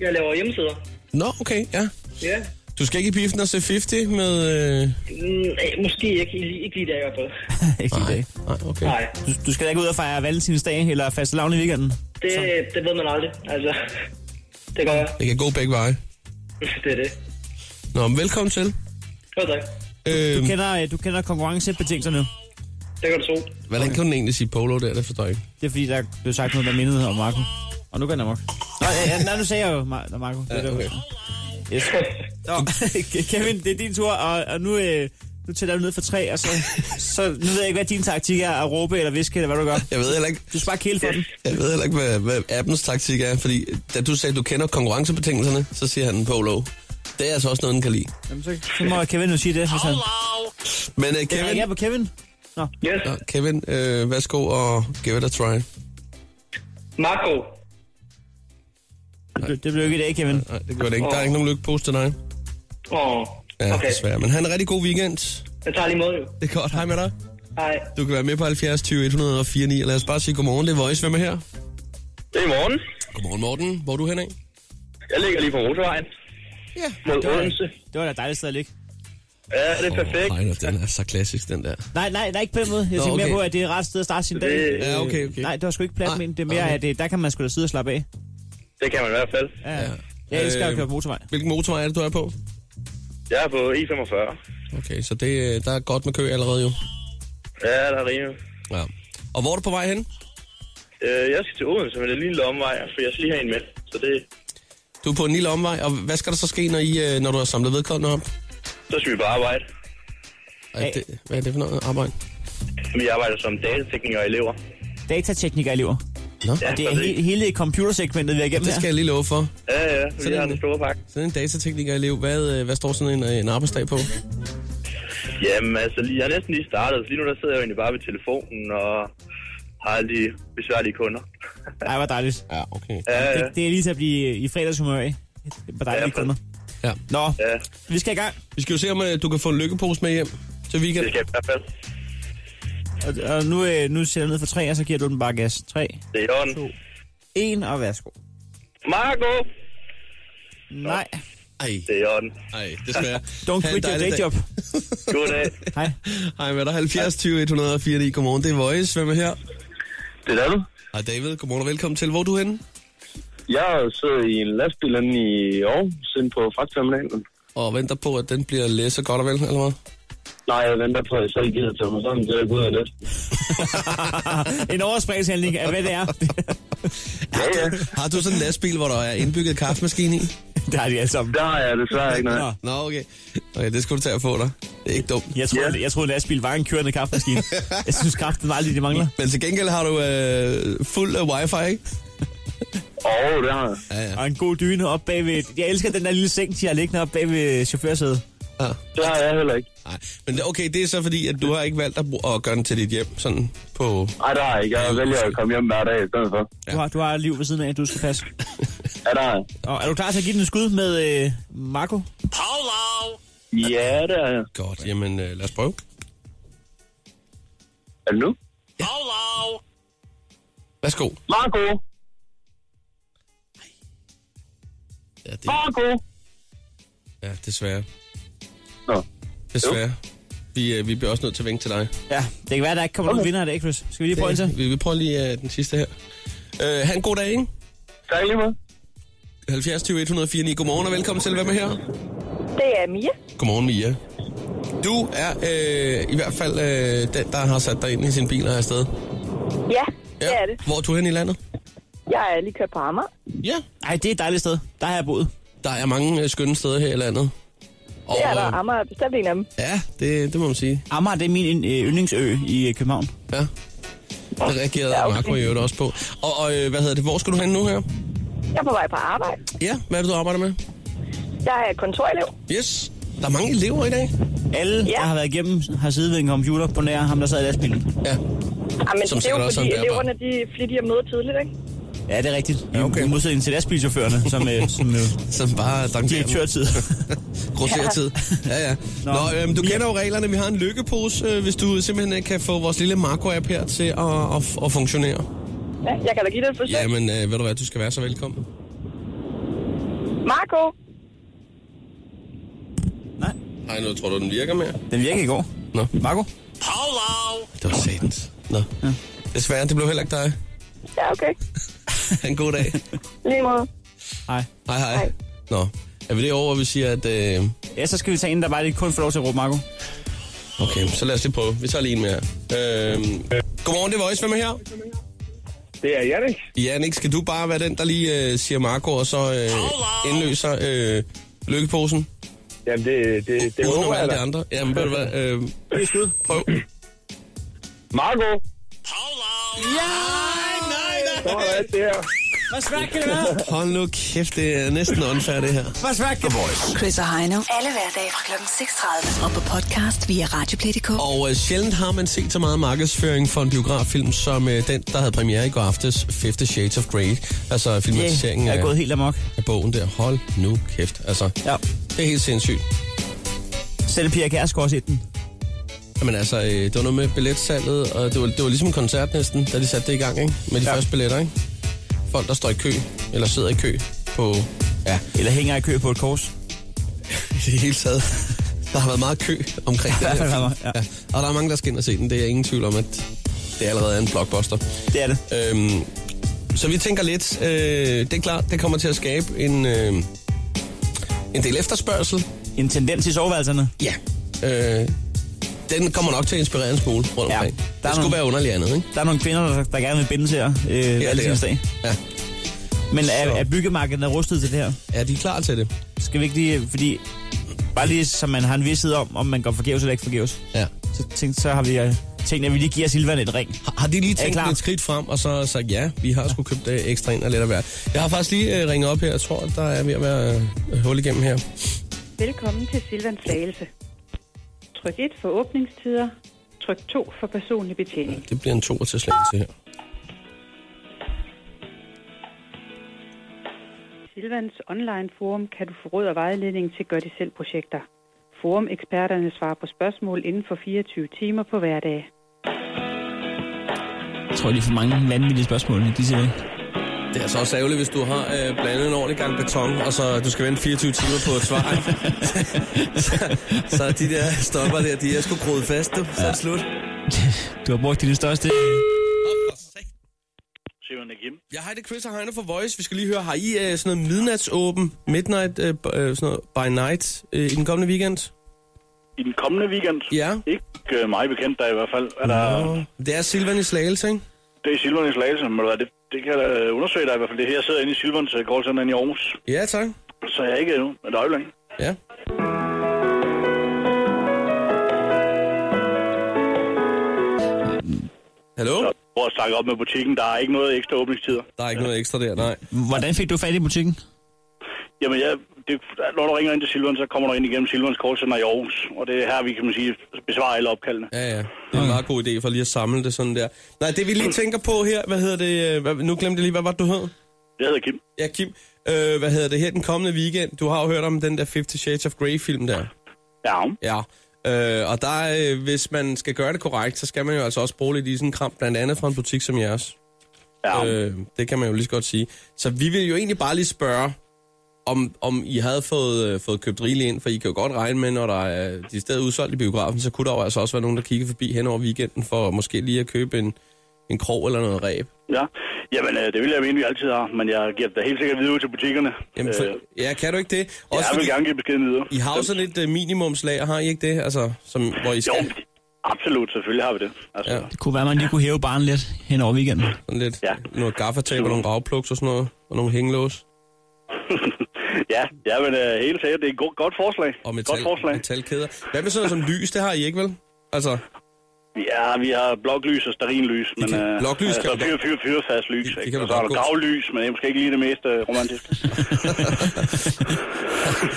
Speaker 7: jeg laver hjemmesider.
Speaker 4: Nå, okay, ja.
Speaker 7: Ja.
Speaker 4: Du skal ikke i biffen og se 50 med... Øh...
Speaker 7: Mm, nej, måske ikke, lige- ikke lige der i hvert fald.
Speaker 6: Ikke lige i dag.
Speaker 4: Nej, okay.
Speaker 7: Nej,
Speaker 6: Du, du skal da ikke ud og fejre valentinsdag eller faste lavn i weekenden.
Speaker 7: det, det ved man aldrig. Altså, det gør jeg.
Speaker 4: Det kan gå begge veje.
Speaker 7: Det er det.
Speaker 4: Nå, men velkommen til.
Speaker 7: Jo, tak.
Speaker 4: Øhm,
Speaker 6: Kender, øh, du kender konkurrencebetingelserne.
Speaker 7: Det kan du tro.
Speaker 4: hvordan kan hun egentlig sige polo der? Det forstår jeg ikke.
Speaker 6: Det er fordi, der blev sagt øh, noget, der mindede om Marco. Og nu gør den amok. Nå, ja, ja, nej, nu sagde jeg jo Mar- Marco. Det er
Speaker 4: Ja,
Speaker 6: det.
Speaker 4: okay.
Speaker 6: Yes. Nå, Kevin, det er din tur, og, og nu, øh, nu tæller du ned for tre, og så, så nu ved jeg ikke, hvad din taktik er, at råbe eller viske, eller hvad du gør.
Speaker 4: Jeg ved heller ikke,
Speaker 6: Du sparer kæle for den.
Speaker 4: jeg ved heller ikke hvad, hvad appens taktik er, fordi da du sagde, at du kender konkurrencebetingelserne, så siger han polo. Det er altså også noget, den kan lide.
Speaker 6: Jamen, så, så må Kevin jo sige det, hvis han...
Speaker 4: Men uh,
Speaker 6: Jeg
Speaker 4: Kevin,
Speaker 6: ringer på Kevin. Nå,
Speaker 7: Yes.
Speaker 4: Nå, Kevin øh, værsgo og give it a try.
Speaker 7: Marco.
Speaker 6: det, blev- det blev ikke i dag, Kevin.
Speaker 4: Nej, det gør det ikke. Der er ikke nogen lykkepose til dig.
Speaker 7: Åh,
Speaker 4: Ja, okay.
Speaker 7: okay.
Speaker 4: desværre. Men han en rigtig god weekend.
Speaker 7: Jeg tager lige imod jo.
Speaker 4: Det er godt. Hej med dig.
Speaker 7: Hej.
Speaker 4: Du kan være med på 70 20 104 9. Lad os bare sige godmorgen. Det er Voice. Hvem er her?
Speaker 8: Det er i morgen.
Speaker 4: Godmorgen, Morten. Hvor er du henad?
Speaker 8: Jeg ligger lige på motorvejen
Speaker 4: Ja.
Speaker 8: mod
Speaker 6: Det var,
Speaker 8: Odense.
Speaker 6: det var da dejligt sted at ligge.
Speaker 8: Ja, det er perfekt.
Speaker 4: nej, den er så klassisk, den der.
Speaker 6: Nej, nej, nej, ikke på den måde. Jeg
Speaker 4: Nå,
Speaker 6: tænker
Speaker 4: okay.
Speaker 6: mere på, at det er ret sted at starte sin dag.
Speaker 8: Det-
Speaker 4: Ja, okay, okay.
Speaker 6: Nej, det var sgu ikke
Speaker 4: Nej,
Speaker 6: plads med Det er mere,
Speaker 4: okay.
Speaker 6: at øh, der kan man sgu da sidde og slappe af.
Speaker 8: Det kan man i hvert fald.
Speaker 6: Ja. Jeg elsker at
Speaker 4: Øh,
Speaker 6: køre på motorvej.
Speaker 4: Hvilken motorvej er det, du er på?
Speaker 8: Jeg er på E45.
Speaker 4: Okay, så det, øh, der er godt med kø allerede jo.
Speaker 8: Ja, der er rimeligt.
Speaker 4: Ja. Og hvor er du på vej hen?
Speaker 8: Øh, jeg skal til Odense, men det er lige en lille omvej, for jeg skal lige have en med. Så det,
Speaker 4: Du er på en lille omvej, og hvad skal der så ske, når, I, øh, når du har samlet vedkommende op?
Speaker 8: så skal vi på arbejde.
Speaker 4: Ej, det, hvad er det for noget arbejde?
Speaker 8: Vi arbejder som datateknikere og elever.
Speaker 6: Datateknikere elever.
Speaker 4: Nå,
Speaker 8: Ja,
Speaker 6: Det
Speaker 8: så
Speaker 6: er he- hele computersegmentet, vi er igennem
Speaker 4: det skal jeg lige love for.
Speaker 8: Ja, ja, vi
Speaker 4: Sådan
Speaker 8: har
Speaker 4: en-
Speaker 8: den store pakke.
Speaker 4: Sådan en datatekniker elev, hvad, øh, hvad står sådan en, øh, en arbejdsdag på?
Speaker 8: Jamen, altså, lige- jeg er næsten lige startet, så lige nu der sidder jeg jo egentlig bare ved telefonen og har alle de besværlige kunder.
Speaker 6: her. Ej, hvor dejligt.
Speaker 4: Ja, okay.
Speaker 8: Ja, ja.
Speaker 6: Det, det er lige til at blive i fredagshumør af. Det var
Speaker 8: Ja,
Speaker 6: dejligt, ja,
Speaker 4: Ja.
Speaker 6: Nå,
Speaker 8: Ja,
Speaker 6: vi skal i gang.
Speaker 4: Vi skal jo se, om øh, du kan få en lykkepose med hjem til weekend.
Speaker 8: det skal jeg i hvert fald.
Speaker 6: Og, og nu, øh, nu sætter jeg ned for tre, og så giver du den bare gas. Tre,
Speaker 8: Det er i orden.
Speaker 6: en, og værsgo.
Speaker 8: Marco!
Speaker 6: Nej,
Speaker 4: Ej,
Speaker 8: Det er i orden.
Speaker 4: ej, desværre.
Speaker 6: don't
Speaker 4: Ha' en
Speaker 6: quit your
Speaker 4: dejlig
Speaker 6: day
Speaker 4: dag.
Speaker 6: job.
Speaker 8: Goddag.
Speaker 6: Hej.
Speaker 4: Hej med dig, 70 20 104 9. Godmorgen, det er Voice. Hvem er her?
Speaker 8: Det er du.
Speaker 4: Hej David, godmorgen og velkommen til. Hvor er du henne?
Speaker 8: Jeg sidder i en lastbil inde i Aarhus, inde på fragtterminalen.
Speaker 4: Og venter på, at den bliver læsset godt og vel, eller hvad?
Speaker 8: Nej, jeg venter på, at jeg selv gider tage mig sammen til at gå ud af det.
Speaker 6: en overspringshandling af, hvad det er.
Speaker 8: Ja, ja.
Speaker 4: Har du sådan en lastbil, hvor der er indbygget kaffemaskine i?
Speaker 6: det har de alle sammen.
Speaker 8: Der er jeg desværre ikke
Speaker 6: Nå.
Speaker 8: noget.
Speaker 4: Nå, okay. Okay, det skulle du tage at få dig. Det er ikke dumt.
Speaker 6: Jeg troede,
Speaker 8: Ja.
Speaker 6: yeah. jeg troede, at lastbil var en kørende kaffemaskine. jeg synes, kraften var aldrig, det mangler.
Speaker 4: Men til gengæld har du øh, fuld af wifi, ikke?
Speaker 8: Åh, oh, det har jeg.
Speaker 4: Ja, ja.
Speaker 6: Og en god dyne op bagved. Jeg elsker den der lille seng, de har liggende op bagved chaufførsædet.
Speaker 4: ja.
Speaker 8: Det har jeg heller ikke.
Speaker 4: Nej. Men det- okay, det er så fordi, at du har ikke valgt at, bruge- at gøre den til dit hjem, sådan på...
Speaker 8: Nej, det har jeg ikke. Jeg vælger at komme hjem hver dag i stedet for.
Speaker 6: Du, har, du har et liv ved siden af, du skal passe.
Speaker 8: Ja, det har jeg.
Speaker 6: Og er du klar til at give den et skud med øh, Marco?
Speaker 8: Ja, det er jeg.
Speaker 4: Godt, jamen øh, lad os prøve.
Speaker 8: Er det nu?
Speaker 4: Værsgo.
Speaker 8: Marco!
Speaker 4: Ja, det,
Speaker 8: Marco!
Speaker 4: ja desværre.
Speaker 8: Nå.
Speaker 4: Desværre. Vi, øh, vi bliver også nødt til at vinke til dig.
Speaker 6: Ja, det kan være, der ikke kommer okay. nogen vinder af det, ikke, Chris? Skal vi lige prøve en til?
Speaker 4: Vi, vi prøver lige øh, den sidste her. Øh, ha' en god dag, ikke?
Speaker 8: Tak lige meget.
Speaker 4: 70 20 104 9. Godmorgen og velkommen til. Hvem er her?
Speaker 9: Det er Mia.
Speaker 4: Godmorgen, Mia. Du er øh, i hvert fald øh, den, der har sat dig ind i sin bil og er afsted.
Speaker 9: Ja, det er det.
Speaker 4: Hvor er du hen i landet?
Speaker 9: Jeg er lige kørt på Amager.
Speaker 4: Ja.
Speaker 6: Ej, det er et dejligt sted. Der har jeg boet.
Speaker 4: Der er mange øh, skønne steder her i landet. Og,
Speaker 9: Det er der.
Speaker 4: øh,
Speaker 9: Amager er bestemt en af dem.
Speaker 4: Ja, det, det må man sige.
Speaker 6: Amager, det er min øh, yndlingsø i øh, København.
Speaker 4: Ja. Det reagerede ja,
Speaker 9: Ja,
Speaker 4: okay.
Speaker 9: okay.
Speaker 4: Marco i øvrigt også på. Og, og øh, hvad hedder det? Hvor skal du hen nu her?
Speaker 9: Jeg er på vej på arbejde.
Speaker 4: Ja, hvad er det, du arbejder med?
Speaker 9: Jeg er kontorelev.
Speaker 4: Yes. Der er mange elever i dag.
Speaker 6: Alle, ja.
Speaker 9: Ja.
Speaker 6: der har været igennem, har siddet ved en computer på nær ham, der sad i lastbilen.
Speaker 4: Ja.
Speaker 9: Ja, men
Speaker 4: Som
Speaker 9: det er
Speaker 4: sikkert
Speaker 9: jo
Speaker 4: også
Speaker 9: fordi
Speaker 4: er en bærbar.
Speaker 9: eleverne, de er flittige at møde tidligt, ikke?
Speaker 6: Ja, det er rigtigt.
Speaker 4: Ja,
Speaker 6: Ja,
Speaker 4: okay.
Speaker 6: okay. I modsætning til lastbilchaufførerne, som, øh, som øh,
Speaker 4: Som bare dankerer dem.
Speaker 6: direktørtid.
Speaker 4: Grossertid. Ja, ja. Nå,
Speaker 6: Nå.
Speaker 4: øhm, du kender jo reglerne. Vi har en lykkepose, øh, hvis du simpelthen øh, kan få vores lille Marco-app her til at, at, at funktionere.
Speaker 9: Ja, jeg kan da give det et forsøg.
Speaker 4: Jamen, øh, ved du hvad, du skal være så velkommen.
Speaker 9: Marco,
Speaker 6: Nej,
Speaker 4: Hej, nu tror du, den virker mere?
Speaker 6: den virker i går.
Speaker 4: Nå,
Speaker 6: Marco?
Speaker 4: det var satans. Nå. Ja. Desværre, det blev heller ikke dig.
Speaker 9: ja okay.
Speaker 4: Ha' en god dag.
Speaker 9: Lige måde.
Speaker 6: Nej.
Speaker 4: Hej, hej.
Speaker 9: Hej.
Speaker 4: Nå, er vi det over, hvor vi siger, at... Øh,
Speaker 6: Ja, så skal vi tage en, der bare lige kun får lov til at råbe Marco.
Speaker 4: okay, så lad os lige prøve. Vi tager lige en mere. Øh, godmorgen, det er Voice. Hvem er her?
Speaker 8: Det er Jannik.
Speaker 4: Jannik, skal du bare være den, der lige øh, siger Marco, og så øh, indløser øh, Lykkeposen?
Speaker 10: Jamen, det, det, det
Speaker 4: Uden om
Speaker 10: håber jeg
Speaker 4: alle
Speaker 10: da.
Speaker 4: de andre? Jamen, ved du hvad? Øh,
Speaker 6: Det er skud.
Speaker 4: prøv.
Speaker 10: Marco,
Speaker 6: Ja! Nej, nej!
Speaker 10: så var der alt det her.
Speaker 6: Hvor svært kan det være?
Speaker 4: Hold nu kæft, det er næsten unfair, det her.
Speaker 6: Hvor svært kan det være?
Speaker 3: Chris og Heino.
Speaker 11: Alle hverdage fra kl. 6.30.
Speaker 3: Og på podcast via Radioplay.dk.
Speaker 4: Og øh, sjældent har man set så meget markedsføring for en biograffilm, som øh, den, der havde premiere i går aftes, Fifty Shades of Grey. Altså filmatiseringen
Speaker 6: Jeg er gået
Speaker 4: af,
Speaker 6: helt amok.
Speaker 4: af bogen der. Hold nu kæft, altså.
Speaker 6: Ja.
Speaker 4: Det er helt sindssygt.
Speaker 6: Selv Pia Kærsgaard har set den.
Speaker 4: Jamen altså, øh, det var noget med billetsalget, og det var, det var ligesom en koncert næsten, da de satte det i gang, ikke? Med de ja. første billetter, ikke? Folk, der står i kø, eller sidder i kø på... Ja,
Speaker 6: Eller hænger i kø på et kors.
Speaker 4: i det hele taget. Der har været meget kø omkring det
Speaker 6: Ja, der
Speaker 4: her.
Speaker 6: har
Speaker 4: film.
Speaker 6: været, ja.
Speaker 4: Og der er mange, der skal ind og se den. Det er jeg ingen tvivl om, at det allerede er en blockbuster.
Speaker 6: Det er det.
Speaker 4: Øhm, så vi tænker lidt, øh, det er klart, det kommer til at skabe en, øh, en del efterspørgsel.
Speaker 6: En tendens i soveværelserne.
Speaker 4: Ja. Øh, den kommer nok til at inspirere en smule rundt
Speaker 6: Ja,
Speaker 4: omkring.
Speaker 6: der
Speaker 4: Ja,
Speaker 6: er
Speaker 4: det skulle
Speaker 6: nogle-
Speaker 4: være underligt andet, ikke?
Speaker 6: Der er nogle kvinder, der, der gerne vil binde til jer øh, ja, valgtinsdag.
Speaker 4: Ja.
Speaker 6: Men er,
Speaker 4: Så-
Speaker 6: er byggemarkedet er rustet til det her?
Speaker 4: Er de klar til det?
Speaker 6: Skal vi ikke lige, fordi... Bare lige, så man har en vidshed om, om man går forgæves eller ikke forgæves.
Speaker 4: Ja.
Speaker 6: Så, tænkte, så har vi øh, tænkt, at vi lige giver Silvan et ring.
Speaker 4: Har- Har de lige tænkt
Speaker 6: klar?
Speaker 4: et skridt frem, og så sagt, ja, vi har sgu købt øh, ekstra ind og lidt af hvert. Jeg har faktisk lige øh, ringet op her, jeg tror, at der er ved at være øh, hul igennem her.
Speaker 12: Velkommen til Silvan Slagelse. Tryk 1 for åbningstider. Tryk 2 for personlig betjening.
Speaker 4: Det bliver en toer til slag til her.
Speaker 12: Silvans online forum kan du få råd og vejledning til gør det selv projekter. Forumeksperterne svarer på spørgsmål inden for 24 timer på hverdag.
Speaker 6: Jeg tror, de får mange vanvittige spørgsmål, de siger.
Speaker 4: Det er altså også ærgerligt, hvis du har øh, blandet en ordentlig gang beton, og så du skal vente 24 timer på et svar. så, så de der stopper der, de er sgu groet fast, du. Så er det slut.
Speaker 6: Du har brugt dine største...
Speaker 10: Simon Kim.
Speaker 4: Ja, hej, det er Chris og Heine fra Voice. Vi skal lige høre, har I øh, sådan noget midnatsåben, midnight øh, b- øh, sådan noget, by night øh, i den kommende weekend?
Speaker 10: I den kommende weekend?
Speaker 4: Ja.
Speaker 10: Ikke øh, meget bekendt der i hvert fald. Er der,
Speaker 4: Det er Silvan i Slagelse, ikke?
Speaker 10: Det er Silvan i Slagelse, men ved du hvad, det, det kan jeg da undersøge dig i hvert fald. Det her jeg sidder inde i Silvans øh, callcenter inde i Aarhus,
Speaker 4: Ja, tak.
Speaker 10: så jeg er ikke øh, endnu. Men der er jo længe.
Speaker 4: Ja. Hallo?
Speaker 10: Så prøv at snakke op med butikken. Der er ikke noget ekstra åbningstider.
Speaker 4: Der er ikke noget ekstra der, nej.
Speaker 6: Hvordan fik du fat i butikken?
Speaker 10: Jamen, ja, det, når du ringer ind til Silvan, så kommer du ind igennem Silvans callcenter i Aarhus. Og det er her, vi kan man sige, besvarer alle opkaldene.
Speaker 4: Ja, ja. Det er en meget god idé for lige at samle det sådan der. Nej, det vi lige tænker på her, hvad hedder det, øh, hvad, nu glemte jeg lige, hvad var det, du hed?
Speaker 10: Jeg hedder Kim.
Speaker 4: Ja, Kim, øh, hvad hedder det her den kommende weekend? Du har jo hørt om den der 50 Shades of Grey-film der.
Speaker 10: Ja,
Speaker 4: Ja. Øh, og der, øh, hvis man skal gøre det korrekt, så skal man jo altså også bruge lidt i sådan en kram, blandt andet fra en butik som jeres.
Speaker 10: ja. Øh.
Speaker 4: Øh, det kan man jo lige så godt sige. Så vi vil jo egentlig bare lige spørge, om, om I havde fået, øh, fået købt rigeligt ind, for I kan jo godt regne med, når der er de steder udsolgt i biografen, så kunne der jo altså også være nogen, der kigger forbi hen over weekenden for måske lige at købe en, en krog eller noget ræb.
Speaker 10: ja. Jamen, øh, det vil jeg mene, vi altid har. Men jeg giver det da helt sikkert videre ud til butikkerne.
Speaker 4: Jamen, for,
Speaker 10: øh,
Speaker 4: ja, kan du ikke det?
Speaker 10: jeg vil
Speaker 4: fordi
Speaker 10: gerne give beskeden videre.
Speaker 4: I har jo sådan et øh, minimumslag, har I ikke det? Altså, som, hvor I
Speaker 10: Jo,
Speaker 4: skal
Speaker 10: absolut. Selvfølgelig har vi det. Altså,
Speaker 4: Ja.
Speaker 10: ja.
Speaker 6: Det kunne være, at man lige kunne hæve barnet lidt hen over weekenden.
Speaker 4: sådan lidt ja.
Speaker 10: Ja.
Speaker 4: noget gaffatape og nogle ragplugs og sådan noget, og nogle hængelås.
Speaker 10: ja, ja, men øh, helt sikkert, det er et go- godt forslag.
Speaker 4: Og
Speaker 10: godt
Speaker 4: metal,
Speaker 10: forslag.
Speaker 4: metalkæder. Hvad med sådan noget som lys, det har I ikke, vel? Altså,
Speaker 10: Ja, vi har bloklys og stearinlys, men
Speaker 4: kan-
Speaker 10: øh,
Speaker 4: bloklys kan
Speaker 10: altså,
Speaker 4: man
Speaker 10: fyr, fyr, fyrfast lys, det,
Speaker 4: Det- det kan
Speaker 10: ikke?
Speaker 4: man
Speaker 10: Og så er
Speaker 4: godt
Speaker 10: der
Speaker 4: gå-
Speaker 10: gavlys, men det er måske ikke lige det mest øh, romantiske.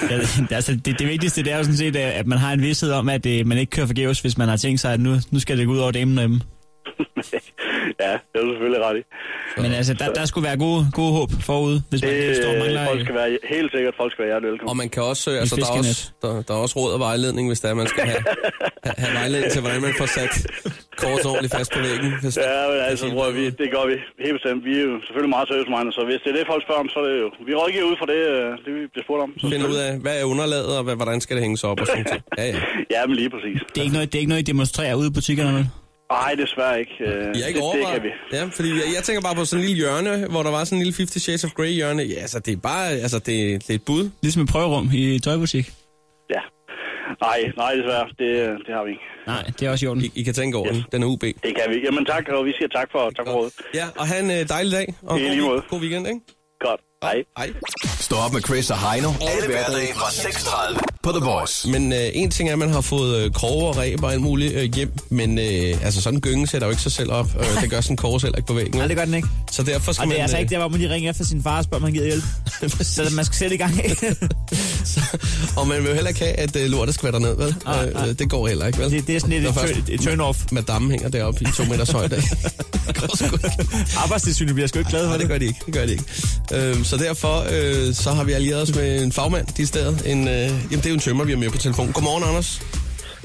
Speaker 6: Ja, det- altså, det, det vigtigste det er jo sådan set, øh, at man har en vidshed om, at øh, man ikke kører forgæves, hvis man har tænkt sig, at nu, nu skal det gå ud over damen derhjemme.
Speaker 10: ja, det er du selvfølgelig ret i.
Speaker 6: Men altså, der, der skulle være gode, gode håb forud, hvis man øh, står og
Speaker 10: Det,
Speaker 6: mangler...
Speaker 10: folk
Speaker 6: øh,
Speaker 10: skal være, helt sikkert, folk skal være hjertelig
Speaker 4: Og
Speaker 10: velkommen.
Speaker 4: man kan også, øh, altså, der, er
Speaker 6: fiskenet.
Speaker 4: også der, der er også råd og vejledning, hvis der man skal have, have- have vejledning til, hvordan man får sat kort ordentligt fast på væggen. Hvis,
Speaker 10: Ja, men altså, bror, vi, det gør vi helt bestemt. Vi er jo selvfølgelig meget service så hvis det er det, folk spørger om, så er det jo... Vi rådgiver ud fra det, øh, det vi bliver spurgt om. Så
Speaker 4: finder ud af, hvad er underlaget, og hvad, hvordan skal det hænges op og sådan noget. Ja, ja.
Speaker 10: Ja, men lige præcis.
Speaker 6: Det er ikke noget, det er ikke noget I demonstrerer ude i butikkerne, vel?
Speaker 10: Nej, desværre ikke. Øh,
Speaker 4: Jeg er ikke
Speaker 10: det, det kan vi.
Speaker 4: overvejet. Ja, fordi jeg, jeg, tænker bare på sådan en lille hjørne, hvor der var sådan en lille 50 Shades of Grey hjørne. Ja, altså, det er bare, altså, det, det er et bud.
Speaker 6: Ligesom et prøverum i tøjbutik.
Speaker 10: Ja. Nej, nej, desværre. Det, øh, det har vi ikke.
Speaker 6: Nej, det er også i orden.
Speaker 4: I, I kan tænke over den. Den er UB.
Speaker 10: Det kan vi. Jamen tak, og vi siger tak for, tak for rådet.
Speaker 4: Ja, og have en øh, dejlig dag, og
Speaker 10: I
Speaker 4: en
Speaker 10: lige
Speaker 4: god,
Speaker 10: måde.
Speaker 4: god weekend, ikke?
Speaker 10: Godt.
Speaker 8: Hej.
Speaker 4: Hej.
Speaker 5: Stå op med Chris og Heino. Alle hverdage fra 6.30 på The Voice.
Speaker 4: Men øh, en ting er, at man har fået øh, kroge og ræb og alt muligt øh, hjem, men øh, altså sådan en gynge sætter jo ikke sig selv op. Øh, det gør sådan en kroge selv ikke på væggen.
Speaker 6: Nej, det gør den ikke.
Speaker 4: Så derfor skal
Speaker 6: Og det
Speaker 4: man... øh,
Speaker 6: er altså ikke der, hvor man lige ringer efter sin far og spørger, om han gider hjælp. så man skal selv i gang af.
Speaker 4: Og man vil jo heller ikke have, at øh, lortet skvatter ned, vel?
Speaker 6: Nej, nej.
Speaker 4: Øh, det går heller ikke, vel?
Speaker 6: Det- det er sådan lidt
Speaker 4: Når
Speaker 6: et
Speaker 4: først
Speaker 6: turn- et turn-off.
Speaker 4: Madame hænger deroppe i to meters højde. det går sgu ikke.
Speaker 6: Arbejdstilsynet bliver sgu ikke glad for
Speaker 4: Nej, det gør de ikke. Det gør de ikke. Øhm, så derfor øh, så har vi allieret os med en fagmand de steder. En, øh, jamen, det er jo en tømmer, vi har med på telefon. Godmorgen, Anders.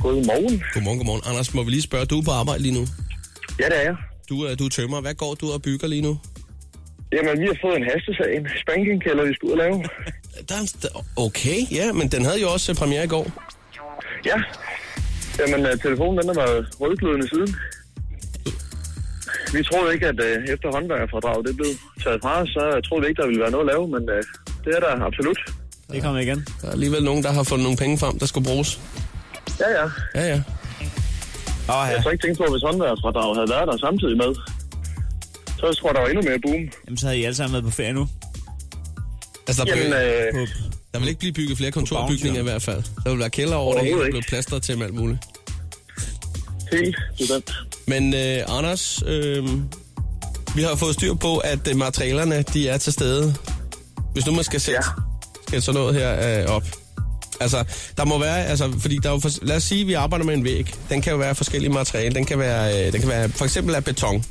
Speaker 8: Godmorgen.
Speaker 4: Godmorgen, godmorgen. Anders, må vi lige spørge, du er på arbejde lige nu.
Speaker 8: Ja, det er jeg.
Speaker 4: Du, øh, du er tømmer. Hvad går du og bygger lige nu?
Speaker 8: Jamen, vi har fået en hastesag, en spankingkælder, vi skal ud og lave.
Speaker 4: Der er en st- okay, ja, men den havde jo også øh, premiere i går.
Speaker 8: Ja. Jamen, øh, telefonen den har været rødglødende siden. Vi troede ikke, at øh, efter håndværkerfradraget det blev taget fra os, så troede vi ikke, der ville være noget at lave, men øh, det er der absolut.
Speaker 6: det. Det kommer igen.
Speaker 4: Der er alligevel nogen, der har fundet nogle penge frem, der skulle bruges.
Speaker 8: Ja, ja.
Speaker 4: Ja, ja.
Speaker 6: Åh, oh, ja.
Speaker 8: Jeg tror ikke tænkt på, hvis håndværkerfradraget havde været der samtidig med, så tror jeg, der var endnu mere boom.
Speaker 6: Jamen, så havde I alle sammen været på ferie nu.
Speaker 4: Altså, der,
Speaker 8: Jamen,
Speaker 4: blev,
Speaker 8: øh,
Speaker 6: På,
Speaker 4: der vil ikke blive bygget flere kontorbygninger i hvert fald. Der vil være kælder over det hele, der
Speaker 8: Overhovedet
Speaker 4: bliver
Speaker 8: ikke.
Speaker 4: plastret til med alt muligt.
Speaker 8: helt bestemt.
Speaker 4: Men øh, Anders, øh, vi har fået styr på, at øh, materialerne de er til stede. Hvis nu man skal sætte,
Speaker 8: Ja.
Speaker 4: ja. skal sådan noget her øh, op. Altså, der må være, altså, fordi der er jo for, lad os sige, at vi arbejder med en væg. Den kan jo være forskellige materialer. Den kan være, øh, den kan være for eksempel af beton.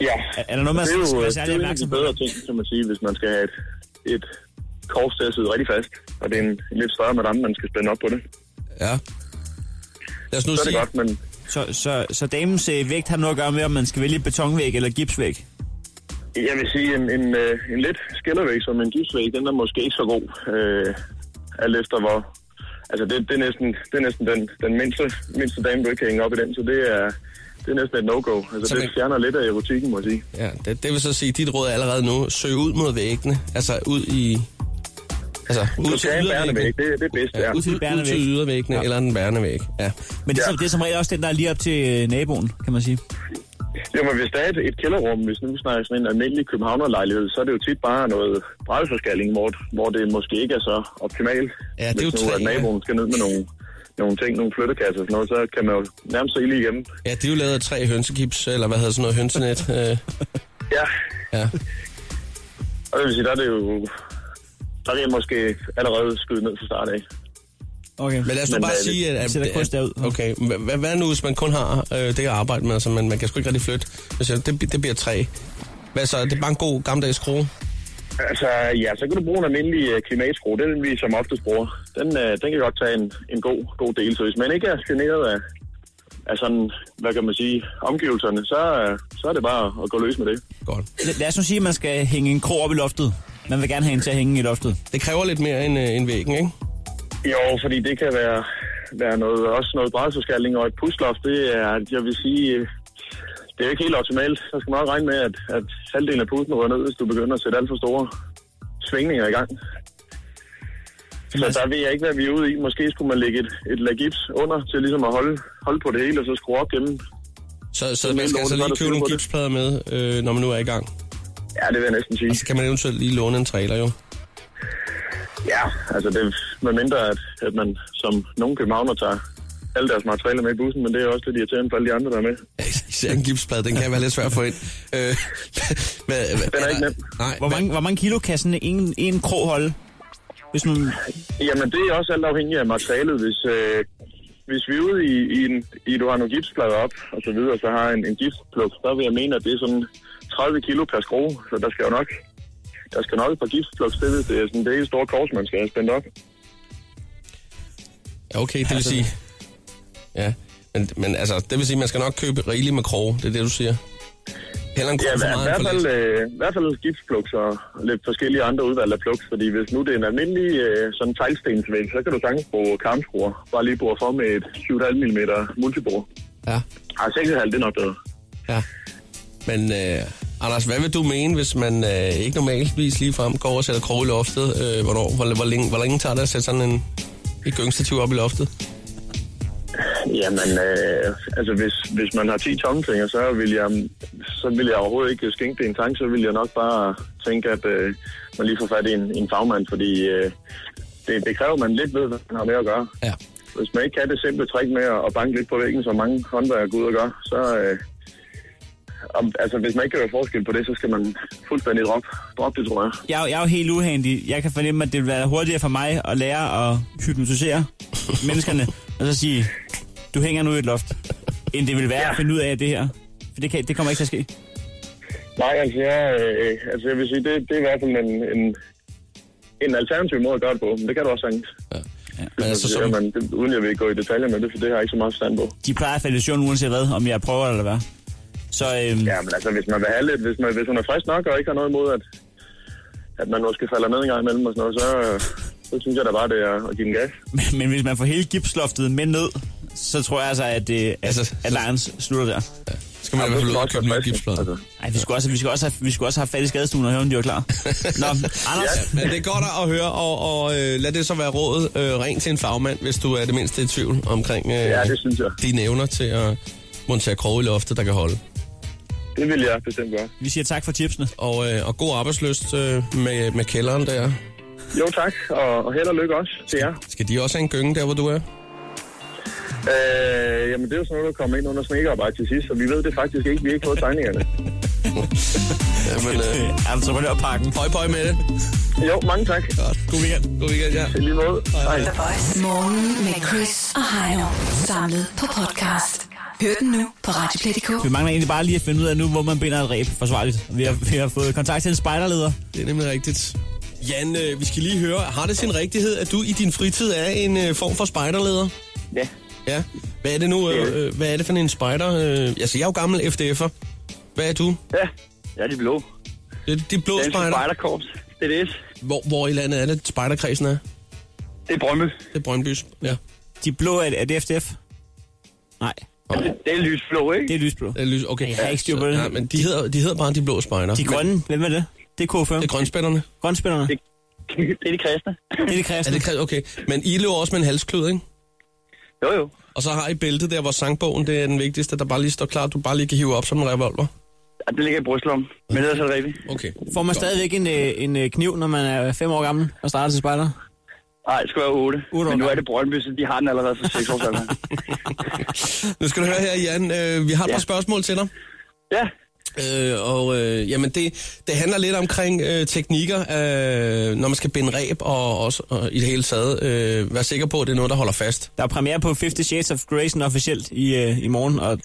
Speaker 8: Ja.
Speaker 6: Er- er der noget, man
Speaker 8: det er
Speaker 6: skal
Speaker 8: jo,
Speaker 6: være
Speaker 8: øh,
Speaker 6: særlig
Speaker 8: det er jo en af
Speaker 6: opmærksom
Speaker 8: de
Speaker 6: på?
Speaker 8: bedre ting, kan man sige, hvis man skal have et, et kors til at sidde rigtig fast, og det er en, en lidt større madame, man skal spænde op på det.
Speaker 4: Ja. Lad os nu
Speaker 8: Så er
Speaker 4: sige,
Speaker 8: det godt, men
Speaker 6: så, så, så damens øh, vægt har noget at gøre med, om man skal vælge betonvæg eller gipsvæg.
Speaker 8: Jeg vil sige, en, en, øh, en lidt skillervæg som en gipsvæg, den er måske ikke så god. Øh, alt efter hvor... Altså, det, det er næsten, det er næsten den, den mindste, mindste dame, du ikke kan hænge op i den, så det er, det er næsten et no-go. Altså,
Speaker 4: Så
Speaker 8: det
Speaker 4: man-
Speaker 8: fjerner lidt af erotikken, må jeg sige.
Speaker 4: ja, det, det vil så sige, at dit råd er allerede nu, søg ud mod væggene. Altså, ud i... Altså, ud
Speaker 8: Du
Speaker 4: til
Speaker 8: skal have en bærende væg,
Speaker 4: ydervæggene.
Speaker 8: det, det er bedst, ja.
Speaker 4: Ja,
Speaker 6: til
Speaker 4: ud til, ud
Speaker 6: bærende
Speaker 4: til
Speaker 6: væg.
Speaker 4: ydervæggene ja.
Speaker 6: Ja.
Speaker 4: eller en bærende væg. Ja.
Speaker 6: Men det er,
Speaker 8: Ja.
Speaker 6: som, det er som regel også den, der er lige op til øh, naboen, kan man sige.
Speaker 8: Jo, men hvis der er et, et kælderrum, hvis nu vi snakker sådan en almindelig københavnerlejlighed, så er det jo tit bare noget brændforskalling, hvor, hvor det måske ikke er så optimalt.
Speaker 4: Ja, det er jo
Speaker 8: hvis nu,
Speaker 4: træ,
Speaker 8: at
Speaker 4: ja.
Speaker 8: naboen skal ned med nogle, nogle ting, nogle flyttekasser og sådan noget, så kan man jo nærmest se lige igennem.
Speaker 4: Ja, det er jo lavet af tre hønsegips, eller hvad hedder sådan noget, hønsenet. Øh,
Speaker 8: Ja,
Speaker 4: ja.
Speaker 8: Og det vil sige, der er det jo... Der vil jeg måske allerede skyde ned til start af.
Speaker 6: Okay.
Speaker 4: Men lad os nu
Speaker 8: Men
Speaker 4: bare
Speaker 8: hvad er det?
Speaker 4: sige, at... at
Speaker 6: Vi sætter kunst derud.
Speaker 4: Okay, hva- hva- hvad nu, hvis man kun har øh, det at arbejde med, altså man, man kan sgu ikke rigtig flytte? Altså, det, bi- det bliver tre. Hvad så, det er bare en god gammeldags skrue?
Speaker 8: Altså, ja, så kan du bruge en almindelig øh, klimatskrue. Det er den, vi som oftest bruger. Den, øh, den kan godt tage en, en god, god del. Så hvis man ikke er generet af, af sådan, hvad kan man sige, omgivelserne, så, øh, så er det bare at gå løs med det.
Speaker 4: Godt.
Speaker 6: Lad- Lad os nu sige, at man skal hænge en krog op i loftet. Man vil gerne have en til at hænge i loftet.
Speaker 4: Det kræver lidt mere end, øh, end væggen, ikke?
Speaker 8: Jo, fordi det kan være, være noget, også noget brædselskaldning og et pusloft. Det er, jeg vil sige, øh, det er jo ikke helt optimalt. Så skal man nok regne med, at, at halvdelen af puden rører ned, hvis du begynder at sætte alt for store svingninger i gang. Så der ved jeg ikke, hvad vi er ude i. Måske skulle man lægge et, et lag gips under til ligesom at holde, holde på det hele, og så skrue op gennem.
Speaker 4: Så, så
Speaker 8: er
Speaker 4: man
Speaker 8: mere lort,
Speaker 4: skal altså
Speaker 8: end
Speaker 4: lige
Speaker 8: hvad der
Speaker 4: købe nogle
Speaker 8: fylder på det.
Speaker 4: gipsplader med, øh, når man nu er i gang.
Speaker 8: Ja, det vil jeg næsten sige.
Speaker 4: Og så kan man eventuelt lige låne en trailer, jo.
Speaker 8: Ja, altså det med mindre, at, at man som nogle københavner tager alle deres materialer med i bussen, men det er jo også lidt irriterende for alle de andre, der er med.
Speaker 4: Ja, Især en gipsplade, den kan være lidt svær at få ind. Øh, hvad, hvad,
Speaker 8: Den er ikke nem.
Speaker 4: Nej,
Speaker 6: Hvor mange, hvor mange kilo kan sådan en, en krog holde? Hvis man,
Speaker 8: Jamen, det er også alt afhængigt af materialet. Hvis, øh, hvis vi er ude i, i, en, i, du har nogle gipsplader op og så videre, så har en, en gipspluk, så vil jeg mene, at det er sådan 30 kilo per skrue, så der skal jo nok der skal nok et par gipsplugs til, hvis det er sådan det hele store kors, man skal have spændt op.
Speaker 4: Ja, okay, det vil sige... Ja, men, men altså, det vil sige, man skal nok købe rigeligt med kroge, det er det, du siger. Heller en
Speaker 8: Ja,
Speaker 4: kroge for
Speaker 8: i
Speaker 4: meget
Speaker 8: hvert
Speaker 4: end for
Speaker 8: fald,
Speaker 4: lidt.
Speaker 8: øh, i hvert fald gipsplugs og lidt forskellige andre udvalg af plugs, fordi hvis nu det er en almindelig øh, sådan teglstensvæg, så kan du sagtens bruge karmskruer. Bare lige bore for med et 7,5 mm multibor.
Speaker 4: Ja,
Speaker 8: Ej, 6,5 det er nok bedre.
Speaker 4: ja. Men øh, Anders, hvad vil du mene, hvis man øh, ikke normalvis lige frem går over og sætter kroge i loftet? Øh, hvornår, hvor, hvor, længe, hvor længe tager det at sætte sådan en, et gyngstativ op i loftet?
Speaker 8: Jamen, øh, altså hvis, hvis man har 10 tommelfingre, så vil jeg, så vil jeg overhovedet ikke skænke det en tanke, så vil jeg nok bare tænke, at øh, man lige får fat i en, en fagmand, fordi øh, det, det kræver, at man lidt ved, hvad man har med at gøre.
Speaker 4: Ja.
Speaker 8: Hvis man ikke kan det simple trick med at at banke lidt på væggen, som mange håndværkere går ud og gør, så... Øh, om, altså, hvis man ikke kan gøre forskel på det, så skal man fuldstændig droppe drop det, tror jeg.
Speaker 6: Jeg, er jo- jeg er jo helt uhandig. Jeg kan fornemme, at det vil være hurtigere for mig at lære at hypnotisere menneskerne, og så sige, du hænger nu i et loft, end det vil være at finde ud af det her. For det, kan, det kommer ikke til at ske.
Speaker 8: Nej, altså jeg, øh, altså jeg vil sige, det, det er i hvert fald en, en, en alternativ måde at gøre det på, men det kan du også sagtens. Ja.
Speaker 4: Ja.
Speaker 8: Men altså, så... man, det, uden jeg vil gå i detaljer med det, for det har jeg ikke så meget stand på.
Speaker 6: De plejer at falde i søvn uanset hvad, om jeg prøver eller hvad. Så, øhm,
Speaker 8: ja, men altså, hvis man vil have lidt, hvis, man, hvis hun er frisk nok og ikke har noget imod, at, at man måske falder ned en gang imellem og sådan noget, så, øh, så synes jeg da bare, det er at give den gas.
Speaker 6: Men- Men hvis man får hele gipsloftet med ned, så tror jeg altså, at, det, at, at Lions slutter der.
Speaker 4: Skal man i hvert fald ud og købe nye
Speaker 8: Altså.
Speaker 4: gipsplader?
Speaker 6: Ej, vi skulle også, vi skulle også, have, vi skulle også have fat i skadestuen og høre, om de var klar. Nå, Anders,
Speaker 4: Ja, men det er godt at høre, og, og øh, lad det så være rådet. Øh, ring til en fagmand, hvis du er det mindste i tvivl omkring øh, ja,
Speaker 8: det synes jeg.
Speaker 4: dine evner til at montere kroge i loftet, der kan holde.
Speaker 8: Det vil jeg bestemt gøre.
Speaker 6: vi siger tak for tipsene.
Speaker 4: Og, øh, og god arbejdsløst øh, med, med kælderen der.
Speaker 8: Jo tak, og, og held og lykke også til jer.
Speaker 4: Skal de også have en gynge der, hvor du er?
Speaker 8: Øh, jamen det er jo sådan noget, der kommer ind under snekearbejde til sidst, så vi ved det faktisk ikke. Vi har ikke fået tegningerne.
Speaker 4: Jamen, øh,
Speaker 6: Entreprenørparken.
Speaker 4: Pøj, pøj med det.
Speaker 8: Jo, mange tak.
Speaker 4: Godt.
Speaker 6: God weekend.
Speaker 4: God weekend, ja.
Speaker 8: I lige måde. Hej.
Speaker 3: Morgen med Chris og Heino. Samlet på podcast. Hør den nu på Radioplay.dk.
Speaker 6: Vi mangler egentlig bare lige at finde ud af nu, hvor man binder et ræb forsvarligt. Vi har, vi har fået kontakt til en spejderleder.
Speaker 4: Det er nemlig rigtigt. Jan, øh, vi skal lige høre, har det sin rigtighed, at du i din fritid er en øh, form for spejderleder?
Speaker 8: Ja.
Speaker 4: Ja. Hvad er det nu?
Speaker 8: Det er
Speaker 4: Øh, øh, hvad er det for en spejder? Øh, altså, jeg er jo gammel FDF'er. Hvad er du?
Speaker 13: Ja, jeg er de blå.
Speaker 4: Det er de blå
Speaker 13: Danske
Speaker 4: spejder.
Speaker 13: Spejderkorps. Det er det.
Speaker 4: Hvor, hvor i landet er det, spejderkredsen er?
Speaker 13: Det er Brømme.
Speaker 4: Det er Brøndbys. Ja,
Speaker 6: De blå, er, er det FDF? Nej,
Speaker 13: Det er lysblå, ikke?
Speaker 6: det er lysblå.
Speaker 4: det er lys. Okay.
Speaker 6: Jeg har ikke styr på
Speaker 4: Så-
Speaker 6: det.
Speaker 4: Nej, men de hedder, de hedder bare de blå spejder.
Speaker 6: De grønne, hvem er det? Det er KFM.
Speaker 4: Det er grønspænderne.
Speaker 6: Grønspænderne. Det
Speaker 13: Det er de kristne.
Speaker 6: er det
Speaker 4: Er
Speaker 6: kristne.
Speaker 4: det kred- Okay. Men I løber også med en halsklød, ikke?
Speaker 13: Jo, jo.
Speaker 4: Og så har I bæltet der, hvor sangbogen det er den vigtigste, der bare lige står klar, du bare lige kan hive op som en revolver.
Speaker 13: Ja, det ligger i brystlommen. Men ellers er det rigtigt.
Speaker 4: Okay.
Speaker 6: Får man stadigvæk en, øh, en øh, kniv, når man er fem år gammel og starter til spejder?
Speaker 13: Nej, det skulle være 8.
Speaker 6: Otte år
Speaker 13: Men nu er
Speaker 6: gammel.
Speaker 13: det Brøndby, så de har den allerede for 6 år siden.
Speaker 4: Nu skal du høre her, Jan. Øh, vi har et par
Speaker 13: Ja.
Speaker 4: spørgsmål til dig.
Speaker 13: Ja,
Speaker 4: Øh, og øh, jamen det, det handler lidt omkring øh, teknikker, øh, når man skal binde ræb og, også, og i det hele taget. Øh, vær sikker på, at det er noget, der holder fast.
Speaker 6: Der er premiere på 50 Shades of Grey'en officielt i, øh, i morgen, og,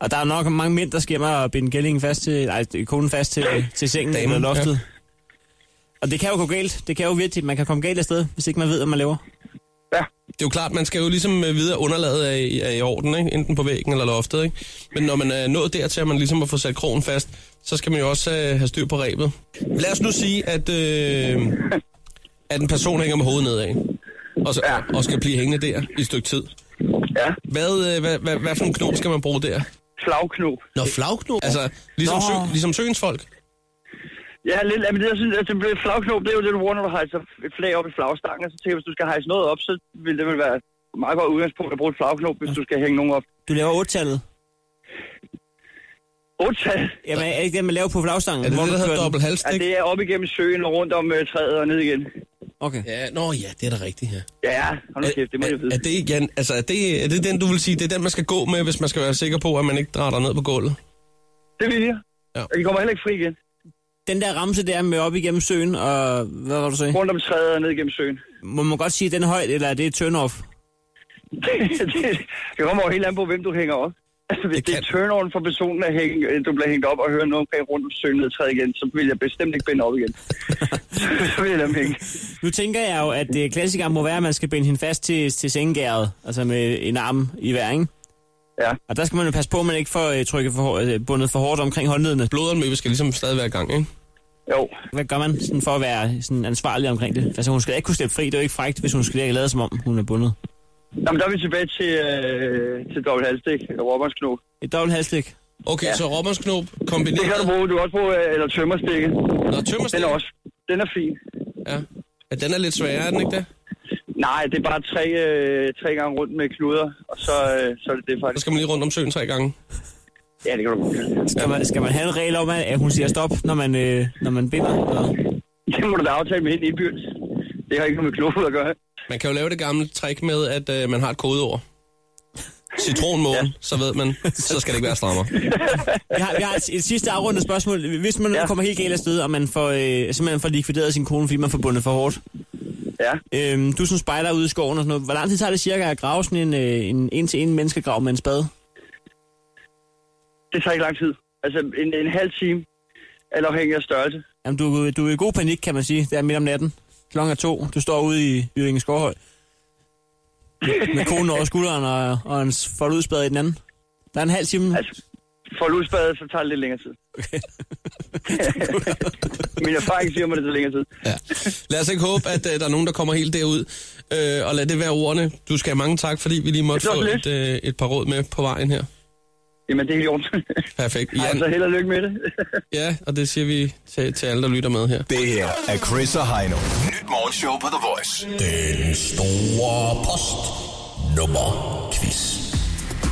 Speaker 6: og der er nok mange mænd, der skal hjem og binde gællingen fast til, nej, konen fast til, øh, til sengen
Speaker 4: Damen,
Speaker 6: Damen, eller loftet. Ja. Og det kan jo gå galt. Det kan jo virkelig, man kan komme galt afsted, hvis ikke man ved, hvad man laver.
Speaker 4: Det er jo klart, man skal jo ligesom øh, vide, at underlaget er i, er i orden, ikke? enten på væggen eller loftet. Ikke? Men når man er nået dertil, at man ligesom har fået sat krogen fast, så skal man jo også øh, have styr på ræbet. Lad os nu sige, at, øh, at en person hænger med hovedet nedad, og, så, og skal blive hængende der i et stykke tid.
Speaker 13: ja.
Speaker 4: Hvad, øh, hvad, hvad, hvad for en knop skal man bruge der?
Speaker 13: Slagknop.
Speaker 4: Nå, flagknop? Altså, ligesom, sø,
Speaker 6: Nå.
Speaker 4: ligesom søens folk?
Speaker 13: Ja, lidt, men det, jeg synes, at det blev flagknop, det er jo det, du bruger, når du hejser et flag op i flagstangen. Og så tænker jeg, hvis du skal hejse noget op, så vil det vel være et meget godt udgangspunkt at bruge et flagknop, hvis du skal hænge nogen op.
Speaker 6: Du laver otte-tallet.
Speaker 13: 8
Speaker 6: Jamen, er det ikke det, man laver på flagstangen?
Speaker 4: Er det
Speaker 6: hvor
Speaker 4: det,
Speaker 6: man
Speaker 4: der hedder
Speaker 6: kører den?
Speaker 4: dobbelt
Speaker 13: Ja,
Speaker 4: halvstik?
Speaker 13: det er op igennem søen og rundt om øh, træet og ned igen.
Speaker 6: Okay.
Speaker 4: Ja, nå ja, det er da rigtigt, ja.
Speaker 13: Ja, hold nu kæft, det må jeg
Speaker 4: Er,
Speaker 13: vide.
Speaker 4: er, det, Jan, altså, er, det, er det den, du vil sige, det er den, man skal gå med, hvis man skal være sikker på, at man ikke drætter ned på gulvet?
Speaker 13: Det vil jeg.
Speaker 4: Ja.
Speaker 13: Og de kommer heller ikke fri igen.
Speaker 6: Den der ramse der med op igennem søen, og hvad var du sagde?
Speaker 13: Rundt om træet og ned igennem søen.
Speaker 6: Må man godt sige, at den er højt, eller er det et turn-off?
Speaker 13: det, det kommer jo helt an på, hvem du hænger op. Altså, hvis
Speaker 4: Det
Speaker 13: det, det er
Speaker 4: kan-
Speaker 13: turn-on for personen, at hænge, øh, du bliver hængt op og hører noget omkring rundt om søen ned træet igen, så vil jeg bestemt ikke binde op igen. så vil jeg lade dem hænge.
Speaker 6: Nu tænker jeg jo, at øh, klassikeren må være, at man skal binde hende fast til, til sengegæret, altså med en arm i hver, ikke?
Speaker 13: Ja.
Speaker 6: Og der skal man jo passe på, at man ikke får øh, trykket for, hår- øh, bundet for hårdt omkring håndledene.
Speaker 4: Blodåndmøbe skal ligesom stadig være i gang, ikke?
Speaker 13: Jo,
Speaker 6: Hvad gør man sådan for at være sådan ansvarlig omkring det? Altså hun skal ikke kunne slippe fri, det er jo ikke frægt, hvis hun skal ikke lade som om, hun er bundet.
Speaker 13: Jamen, der er vi tilbage til, øh, til dobbelt halvstik, eller robbersknog.
Speaker 6: Et dobbelt halsstik.
Speaker 4: Okay, ja. så robbersknop
Speaker 13: Det kan du
Speaker 4: kombineret...
Speaker 13: bruge, du kan også bruge, øh, eller tømmerstikke.
Speaker 4: Nå,
Speaker 13: Den
Speaker 4: tømmerstik,
Speaker 13: er også, den er fin.
Speaker 4: ja. ja. den er lidt sværere, er den ikke det?
Speaker 13: Nej, det er bare tre, øh, tre gange rundt med kluder, og så, øh, så er det det faktisk.
Speaker 4: Så skal man lige rundt om søen tre gange.
Speaker 13: Ja, det kan du godt.
Speaker 6: Skal man, skal man have en regel om, at at hun siger stop, når man, øh, når man binder? Eller?
Speaker 13: Det må du da aftale med hende indbyrdes. Det har ikke noget med kloden at gøre.
Speaker 4: Man kan jo lave det gamle trick med, at øh, man har et kodeord. Citronmåne, ja. så ved man, så skal det ikke være strammer.
Speaker 6: Vi har, vi har et, et sidste afrundet spørgsmål. Hvis man ja. kommer helt galt afsted, og man får, øh, simpelthen får likvideret sin kone, fordi man får bundet for hårdt.
Speaker 13: Ja.
Speaker 6: Øhm, du som spejder ude i skoven og sådan noget. Hvor lang tid tager det cirka at grave sådan en, øh, en en-til-en menneskegrav med en spade?
Speaker 13: Det tager ikke lang tid. Altså en, en halv time, alt afhængig af størrelse.
Speaker 6: Jamen, du, du er i god panik, kan man sige. Det er midt om natten. Klokken er to. Du står ude i Jyllinge Skovhøj. Med konen over skulderen og, og en forudspade i den anden. Der er en halv time.
Speaker 13: Altså, for ludsbadet, så tager det lidt længere tid. Min erfaring siger mig, det tager længere tid.
Speaker 4: Ja. Lad os ikke håbe, at øh, der er nogen, der kommer helt derud. Øh, og lad det være ordene. Du skal have mange tak, fordi vi lige måtte
Speaker 13: Det var
Speaker 4: få
Speaker 13: så
Speaker 4: et,
Speaker 13: lidt.
Speaker 4: øh, et par råd med på vejen her.
Speaker 13: Jamen, det er helt i orden.
Speaker 4: Perfekt.
Speaker 13: Ej, så held og lykke med det.
Speaker 4: ja, og det siger vi til, til alle, der lytter med her.
Speaker 5: Det her er Chris og Heino. Nyt morgenshow på The Voice.
Speaker 4: Den store post nummer quiz.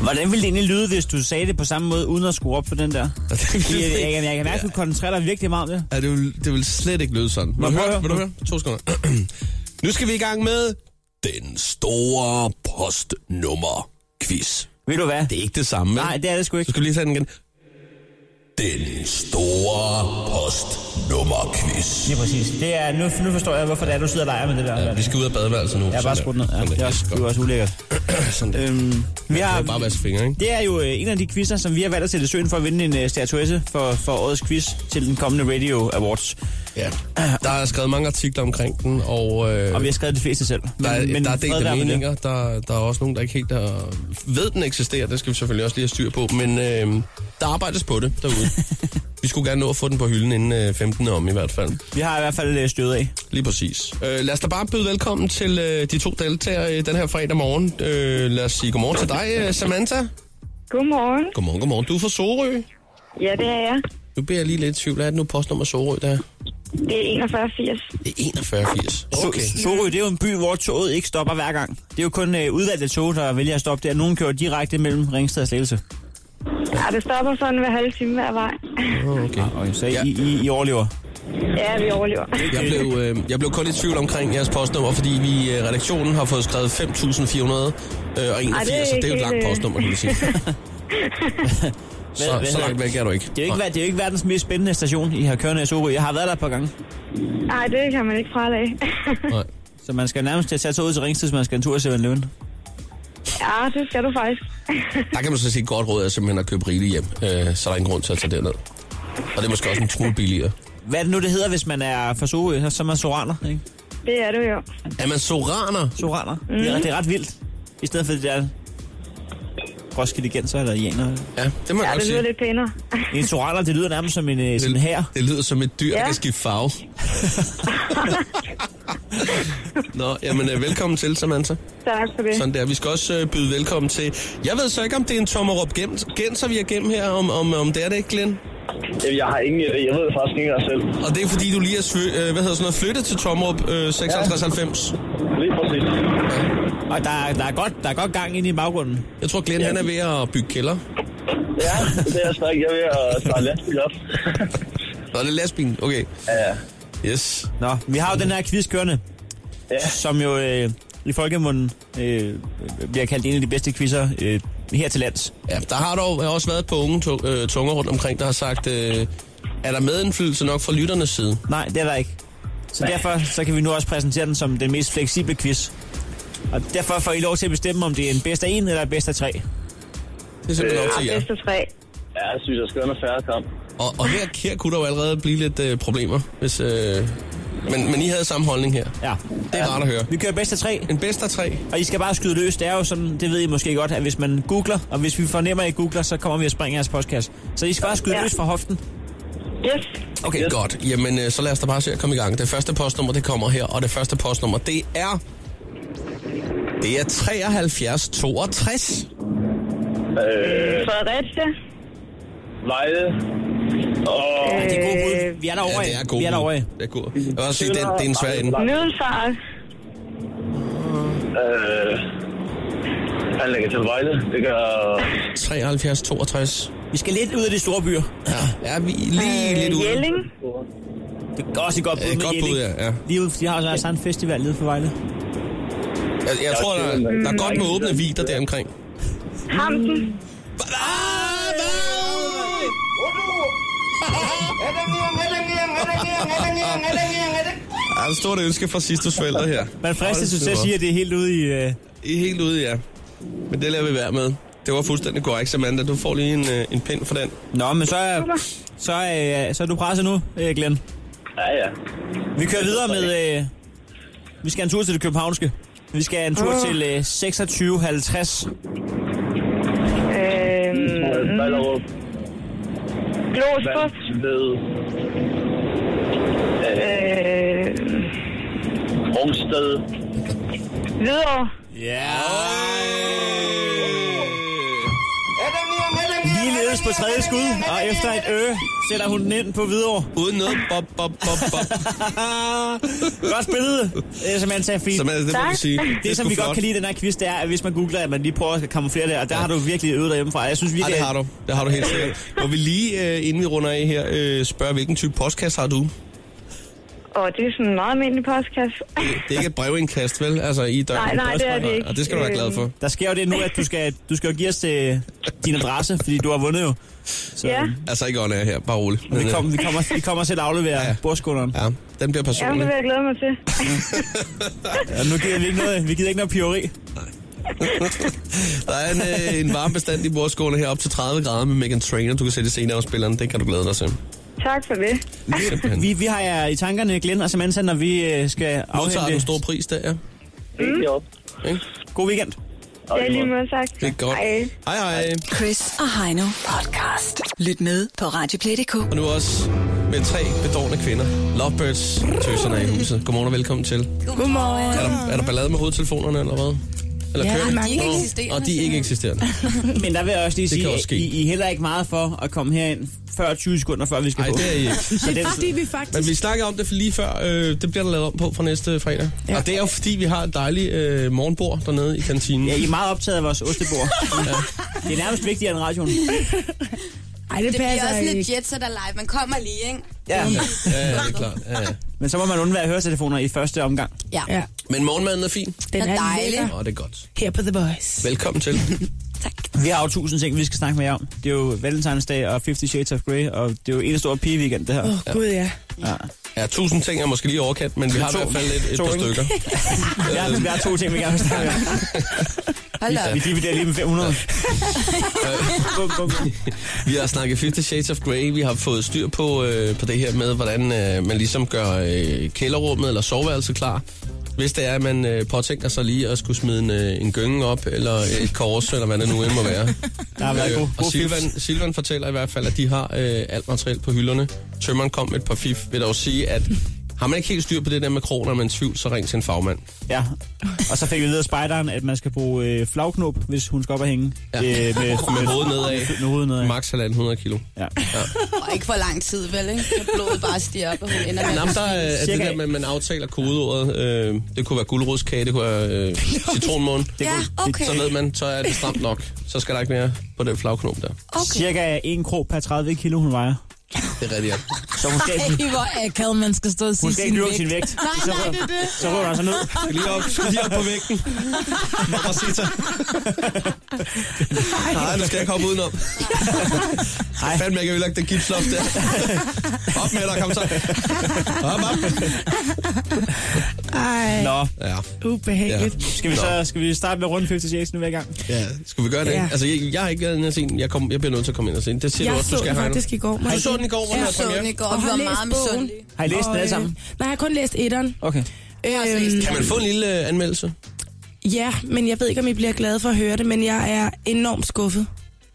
Speaker 6: Hvordan ville det egentlig lyde, hvis du sagde det på samme måde, uden at skrue op for den der? Fordi jeg, jeg, jeg, jeg kan mærke, at du koncentrerer dig virkelig meget om det.
Speaker 4: Ja, det, vil, det vil slet ikke lyde sådan. Vil
Speaker 6: Nå,
Speaker 4: du
Speaker 6: prøv
Speaker 4: høre?
Speaker 6: at
Speaker 4: Vil du høre? To sekunder. nu skal vi i gang med den store postnummer quiz.
Speaker 6: Ved du hvad?
Speaker 4: Det er ikke det samme, vel?
Speaker 6: Nej, det er det sgu ikke.
Speaker 4: Så skal vi lige tage den igen. Den store postnummer quiz.
Speaker 6: Ja, præcis. Det er, nu, nu forstår jeg, hvorfor det er, du sidder og leger med det der.
Speaker 4: Ja, vi skal ud af badeværelset nu.
Speaker 6: Jeg har bare skruet ned. Ja,
Speaker 4: Sådan
Speaker 6: det er
Speaker 4: der.
Speaker 6: også, det er også ulækkert.
Speaker 4: Sådan der.
Speaker 6: Øhm, vi
Speaker 4: Det
Speaker 6: har,
Speaker 4: er bare at vaske fingre, ikke?
Speaker 6: det er jo øh, en af de quizzer, som vi har valgt at sætte i søen for at vinde en øh, statuette for, for årets quiz til den kommende Radio Awards.
Speaker 4: Ja. Der er skrevet mange artikler omkring den, og... Øh,
Speaker 6: Og vi har skrevet de fleste selv. Men,
Speaker 4: Der er, men der er
Speaker 6: fred
Speaker 4: delte
Speaker 6: være med det.
Speaker 4: meninger, der, der er også nogen, der ikke helt er, ved, den eksisterer. Det skal vi selvfølgelig også lige have styr på, men øh, der arbejdes på det derude. vi skulle gerne nå at få den på hylden inden øh, 15. om i hvert fald.
Speaker 6: Vi har i hvert fald øh, stødet af.
Speaker 4: Lige præcis. Øh, lad os da bare byde velkommen til øh, de to deltagere øh, den her fredag morgen. Øh, lad os sige godmorgen til dig, øh, Samantha.
Speaker 9: Godmorgen.
Speaker 4: Godmorgen, godmorgen. Du er fra Sorø.
Speaker 9: Ja, det er jeg.
Speaker 4: Nu bliver jeg lige lidt i tvivl. Hvad er det nu postnummer Sorø, der er?
Speaker 9: Det er 4180.
Speaker 4: Det er 4180. Okay.
Speaker 6: Okay. Sorø, det er jo en by, hvor toget ikke stopper hver gang. Det er jo kun øh, udvalgte tog, der vælger at stoppe der. Nogen kører direkte mellem Ringsted og Slagelse.
Speaker 9: Ja, det stopper sådan hver halv time hver vej.
Speaker 4: okay.
Speaker 6: Okay, så
Speaker 4: Ja.
Speaker 6: ja. I, I, I overlever.
Speaker 9: Ja, vi overlever.
Speaker 4: Jeg blev, øh, jeg blev kun i tvivl omkring jeres postnummer, fordi vi i øh, redaktionen har fået skrevet 5.400
Speaker 9: Ej,
Speaker 4: øh, og 81, det
Speaker 9: det er
Speaker 4: så det er jo et
Speaker 9: ikke
Speaker 4: langt
Speaker 9: helt, øh,
Speaker 4: postnummer, kan vi sige. så,
Speaker 6: hvad
Speaker 4: så langt
Speaker 6: hedder-
Speaker 4: væk er du ikke.
Speaker 6: Det er jo ikke,
Speaker 4: Nej.
Speaker 6: ver- det er jo ikke verdens mest spændende station, I har kørende i Sorø. Jeg har været der et par gange,
Speaker 9: Nej, det kan man ikke fralage.
Speaker 4: Nej.
Speaker 6: så man skal nærmest til at tage toget til Ringsted, hvis man skal en tur til Søren Løven.
Speaker 9: ja, det skal du faktisk.
Speaker 4: Der kan man så sige, at et godt råd er simpelthen at købe rigeligt hjem, øh, så er der ingen grund til at tage derned. Og det er måske også en smule billigere.
Speaker 6: Hvad er det nu, det hedder, hvis man er fra Sorø? Så er man soraner, ikke?
Speaker 9: Det er du jo.
Speaker 4: Er man soraner?
Speaker 6: Soraner. Mm. Det, er, det er ret vildt. I stedet for det der roskildegenser eller janer.
Speaker 4: Ja, det må jeg
Speaker 9: Ja,
Speaker 4: godt
Speaker 9: det
Speaker 4: sige.
Speaker 9: lyder lidt pænere.
Speaker 6: En soraner, det lyder nærmest som en, øh, sådan en her.
Speaker 4: det lyder som et dyr, ja. der
Speaker 9: Ja.
Speaker 4: kan skifte farve. Nå, jamen øh, velkommen til, Samantha.
Speaker 9: tak for det.
Speaker 4: Sådan der. Vi skal også øh, byde velkommen til... Jeg ved så ikke, om det er en Tommerup Gens- Genser, vi er gennem her, om, om, om det er det ikke, Glenn.
Speaker 13: Jamen, Jeg har ingen idé. Jeg ved det faktisk ikke engang selv.
Speaker 4: Og det er fordi, du lige er svø- øh, hvad hedder sådan noget, flyttet til Tommerup øh, 5690.
Speaker 13: Lige præcis.
Speaker 6: Og der, er- der, er godt, der er godt gang ind i baggrunden.
Speaker 4: Jeg tror, Glenn han er ved at bygge kælder.
Speaker 13: Ja, det er stadig. Jeg er ved at starte lastbil op.
Speaker 4: Nå, det er lastbilen. Okay.
Speaker 13: Ja.
Speaker 4: Yes.
Speaker 6: Nå, vi har jo den her quiz kørende,
Speaker 13: Ja.
Speaker 6: som jo øh, i folkemunden øh, bliver kaldt en af de bedste quizzer øh, her til lands.
Speaker 4: Ja, der har dog også været på unge tu- øh, tunger rundt omkring, der har sagt, øh, er der medindflydelse nok fra lytternes side?
Speaker 6: Nej, det er der ikke. Så derfor så kan vi nu også præsentere den som den mest fleksible quiz. Og derfor får I lov til at bestemme, om det er en bedst af en eller en bedst af tre.
Speaker 4: Det er simpelthen
Speaker 13: Øh,
Speaker 4: op til jer.
Speaker 9: Bedste tre.
Speaker 13: Ja, jeg synes, jeg skal noget færre kamp.
Speaker 4: Og, og her, her kunne der jo allerede blive lidt øh, problemer, hvis... Øh, men, men I havde samme holdning her.
Speaker 6: Ja.
Speaker 4: Det er rart at høre.
Speaker 6: Vi kører bedst af tre,
Speaker 4: En bedst af tre.
Speaker 6: og I skal bare skyde løs. Det er jo sådan, det ved I måske godt, at hvis man googler, og hvis vi fornemmer, at I googler, så kommer vi og springer jeres postkasse. Så I skal bare skyde
Speaker 9: Ja.
Speaker 6: løs fra hoften.
Speaker 9: Yes.
Speaker 4: Okay, yes. godt. Jamen, øh, så lad os da bare se at komme i gang. Det første postnummer, det kommer her, og det første postnummer, det er... Det er 7362.
Speaker 6: Øh.
Speaker 9: Fredericia.
Speaker 13: Vejle. Og...
Speaker 6: Det er gode
Speaker 9: Øh,
Speaker 6: bud. Vi er derovre.
Speaker 4: Ja, det er god.
Speaker 6: Vi er derovre.
Speaker 4: Det er god. Jeg vil også sige, det, er- det er en svær ende.
Speaker 9: Middelfart.
Speaker 8: Øh, han lægger til Vejle. Det gør...
Speaker 4: 73, 62.
Speaker 6: Vi skal lidt ud af de store byer.
Speaker 4: Ja, ja vi er lige øh, lidt ude.
Speaker 9: Jelling.
Speaker 6: Det er også et godt bud
Speaker 4: Øh,
Speaker 6: med
Speaker 4: godt bud,
Speaker 6: Jelling.
Speaker 4: ja, ja.
Speaker 6: Lige ude, for de har også deres egen festival nede for Vejle.
Speaker 4: Jeg, jeg tror, der, der er godt med åbne vider deromkring.
Speaker 9: Hamsen.
Speaker 4: Der er et stort ønske fra sidste forældre her.
Speaker 6: Man fristes jo til at sige, at det er helt ude i... Øh...
Speaker 4: I er helt ude, ja. Men det lader vi være med. Det var fuldstændig korrekt, Samantha. Du får lige en, øh, en pind for den.
Speaker 6: Nå, men så er, så, er, så er du presset nu, øh, Glenn.
Speaker 8: Ja, ja.
Speaker 6: Vi kører videre med... Øh... Vi skal en tur til det københavnske. Vi skal en tur til øh, 2650.
Speaker 9: Øhm,
Speaker 8: Ballerup.
Speaker 9: Glostrup.
Speaker 8: Ved.
Speaker 9: Øh,
Speaker 8: Rungsted.
Speaker 9: Hvidovre.
Speaker 6: Ja! Ligeledes på tredje skud, og efter et ø, sætter hun den ind på Hvidovre.
Speaker 4: Uden noget bop, bop, bop, bop.
Speaker 6: Godt spillet, øh, som han sagde fint.
Speaker 4: Samantha, det må
Speaker 9: Tak.
Speaker 4: du sige.
Speaker 6: Det, som
Speaker 4: sgu
Speaker 6: vi godt
Speaker 4: flot.
Speaker 6: kan lide i den her quiz, det er, at hvis man googler, at man lige prøver at kamuflere det, og der har du virkelig øvet derhjemmefra. Jeg synes
Speaker 4: Ja,
Speaker 6: virkelig,
Speaker 4: det har du. Det har du helt sikkert. Må vi lige, øh, inden vi runder af her, øh, spørge, hvilken type postkasse har du?
Speaker 9: Og det er sådan en meget almindelig postkasse.
Speaker 4: Det er ikke et brevindkast, vel? Altså i døren.
Speaker 9: Nej, nej, det er det ikke.
Speaker 4: Og det skal du være glad for.
Speaker 6: Der sker jo det nu, at du skal, du skal jo give os øh, din adresse, fordi du har vundet jo. Så
Speaker 9: Ja,
Speaker 4: Altså ikke ånden af her, bare roligt.
Speaker 6: vi,
Speaker 4: øh,
Speaker 6: kom, vi, kommer, vi kommer til at aflevere ja. bordskulderen.
Speaker 4: Ja, den
Speaker 9: ja,
Speaker 4: bliver
Speaker 9: det
Speaker 4: personlig.
Speaker 9: vil jeg glæde mig til.
Speaker 6: Ja, nu gider vi ikke noget, vi gider ikke noget piveri.
Speaker 4: Der er en, øh, en varm bestand i bordskålen her op til 30 grader med Megan Trainer. Du kan sætte senere af spilleren. Det kan du glæde dig til.
Speaker 9: Tak for det.
Speaker 4: Simpelthen.
Speaker 6: Vi, vi har jer i tankerne, Glenn og Samantha, når vi øh, skal
Speaker 4: Modtager du en
Speaker 6: afhente.
Speaker 4: stor pris der, ja?
Speaker 14: Mm.
Speaker 8: Det er op.
Speaker 4: Ikke?
Speaker 6: God weekend.
Speaker 9: Ja, lige måde, tak.
Speaker 4: Det er godt.
Speaker 9: Hej.
Speaker 4: Hej, hej.
Speaker 3: Chris og Heino podcast. Lyt med på Radioplay.dk.
Speaker 4: Og nu også med tre bedårende kvinder. Lovebirds, tøserne er i huset. Godmorgen og velkommen til.
Speaker 3: Godmorgen.
Speaker 4: Er der, er der ballade med hovedtelefonerne, eller hvad? Eller
Speaker 3: Ja,
Speaker 4: kører
Speaker 3: de er ikke
Speaker 4: Nå,
Speaker 3: eksisterende,
Speaker 4: Og de er ikke eksisterende.
Speaker 6: Men der vil jeg også lige
Speaker 4: Det kan
Speaker 6: sige,
Speaker 4: også
Speaker 6: at
Speaker 4: ske.
Speaker 6: I, I er heller ikke meget for at komme herind før 20 sekunder, før vi skal
Speaker 4: Nej,
Speaker 6: på.
Speaker 4: det er I ikke.
Speaker 6: Så den,
Speaker 14: Fordi vi faktisk...
Speaker 4: Men vi snakkede om det for lige før. Øh, det bliver der lavet om på fra næste fredag. Ja. Og det er jo fordi, vi har et dejligt øh, morgenbord dernede i kantinen.
Speaker 6: ja, I er meget optaget af vores ostebord. Det er nærmest vigtigere end radioen.
Speaker 14: Ej, det,
Speaker 15: Det bliver
Speaker 14: passer
Speaker 15: også sådan et
Speaker 14: ikke.
Speaker 15: jet set live. Man kommer lige, ikke?
Speaker 6: Ja.
Speaker 4: ja, ja, det er klart. Ja, ja.
Speaker 6: Men så må man undvære høretelefoner i første omgang.
Speaker 15: Ja.
Speaker 14: Ja,
Speaker 4: Men morgenmaden er fin.
Speaker 14: den
Speaker 15: Det
Speaker 14: er
Speaker 15: er dejligt.
Speaker 14: dejlig.
Speaker 4: Åh, oh, det er godt.
Speaker 14: Her på The Voice.
Speaker 4: Velkommen til.
Speaker 6: Vi har jo tusind ting, vi skal snakke med jer om. Det er jo Valentinsdag og 50 Shades of Grey, og det er jo en stor pigeweekend, det her.
Speaker 14: Åh, oh, gud ja.
Speaker 4: Ja, tusind ting er måske lige overkant, men vi har i
Speaker 6: To.
Speaker 4: hvert fald et, et
Speaker 6: To,
Speaker 4: par
Speaker 6: ikke?
Speaker 4: stykker.
Speaker 6: Vi har, vi har to ting, vi gerne vil snakke om.
Speaker 15: Hold da op.
Speaker 6: Vi dividerer lige med 500. Bum, bum, bum.
Speaker 4: Vi har snakket 50 Shades of Grey. Vi har fået styr på, øh, på det her med, hvordan øh, man ligesom gør øh, kælderrummet eller soveværelset klar. Hvis det er, at man øh, påtænker sig lige at skulle smide en, øh, en gynge op, eller et kors, eller hvad det nu end må være.
Speaker 6: Der har været
Speaker 4: Øh,
Speaker 6: god,
Speaker 4: og
Speaker 6: god
Speaker 4: Silvan, Silvan fortæller i hvert fald, at de har øh, alt materiel på hylderne. Tømmeren kom med et par fif. Vil dog sige, at har man ikke helt styr på det der med kroner, men tvivl, så ring til en fagmand.
Speaker 6: Ja. Og så fik vi ved af spejderen, at man skal bruge øh, flagknop, hvis hun skal op og hænge.
Speaker 4: Ja.
Speaker 6: Øh, med, med,
Speaker 4: Med hovedet nedad.
Speaker 6: med hovedet nedad.
Speaker 4: Max 1.500 kilo.
Speaker 6: Ja.
Speaker 15: Og ikke for lang tid, vel, ikke? Så blodet bare stiger op, og hun ender med...
Speaker 4: Nå, men der øh, er, er det
Speaker 6: Cirka.
Speaker 4: der med, at man aftaler kodeordet. Øh, det kunne være guldrodskage, det kunne være øh, citronmåne.
Speaker 15: Ja, okay.
Speaker 4: Så ved man, så er det stramt nok. Så skal der ikke mere på den flagknop der.
Speaker 15: Okay.
Speaker 6: Cirka 1 krog per 30 kilo, hun vejer.
Speaker 4: Det er rigtigt. ja.
Speaker 6: Så hun skal,
Speaker 14: Ej, hvor akavet, man skal stå og sige
Speaker 6: hun skal
Speaker 14: sin
Speaker 6: ikke dyrke
Speaker 14: vægt.
Speaker 6: sin vægt.
Speaker 15: Nej,
Speaker 6: Så,
Speaker 15: nej, det er det.
Speaker 6: så rører hun altså ned.
Speaker 4: Skal lige op, skal lige op på vægten. Mamma Sita. Nej, du skal ikke hoppe udenom. Nej. Fandme, jeg kan ødelægge det gipsloft der. Op med dig, kom så. Op, op.
Speaker 14: Ej,
Speaker 6: Nå,
Speaker 4: Ja.
Speaker 14: ubehageligt.
Speaker 4: Ja.
Speaker 6: skal vi, så, skal vi starte med rundt 50 Shades nu hver gang?
Speaker 4: Ja, skal vi gøre det?
Speaker 14: Ja.
Speaker 4: Ja. Altså, jeg, jeg har ikke været inde og se den. Jeg, kom, jeg bliver nødt til at komme ind og se den. Det siger
Speaker 14: Jeg
Speaker 4: du også,
Speaker 14: så
Speaker 4: du skal
Speaker 14: den
Speaker 4: have
Speaker 14: faktisk i går. Må
Speaker 4: Du
Speaker 14: jeg
Speaker 4: så
Speaker 14: sige?
Speaker 4: den i går, hvor den
Speaker 15: Jeg
Speaker 4: var
Speaker 15: så den i
Speaker 4: premiere.
Speaker 15: går, og vi
Speaker 14: har
Speaker 15: var
Speaker 14: læst
Speaker 15: meget
Speaker 14: bogen.
Speaker 15: misundelige.
Speaker 6: Har I læst den
Speaker 14: Og,
Speaker 6: alle
Speaker 14: øh,
Speaker 6: sammen?
Speaker 14: Nej, jeg har kun læst etteren.
Speaker 6: Okay.
Speaker 15: Altså,
Speaker 14: Øhm,
Speaker 4: Kan man få en lille øh, anmeldelse?
Speaker 14: ja, men jeg ved ikke, om I bliver glade for at høre det, men jeg er enormt skuffet.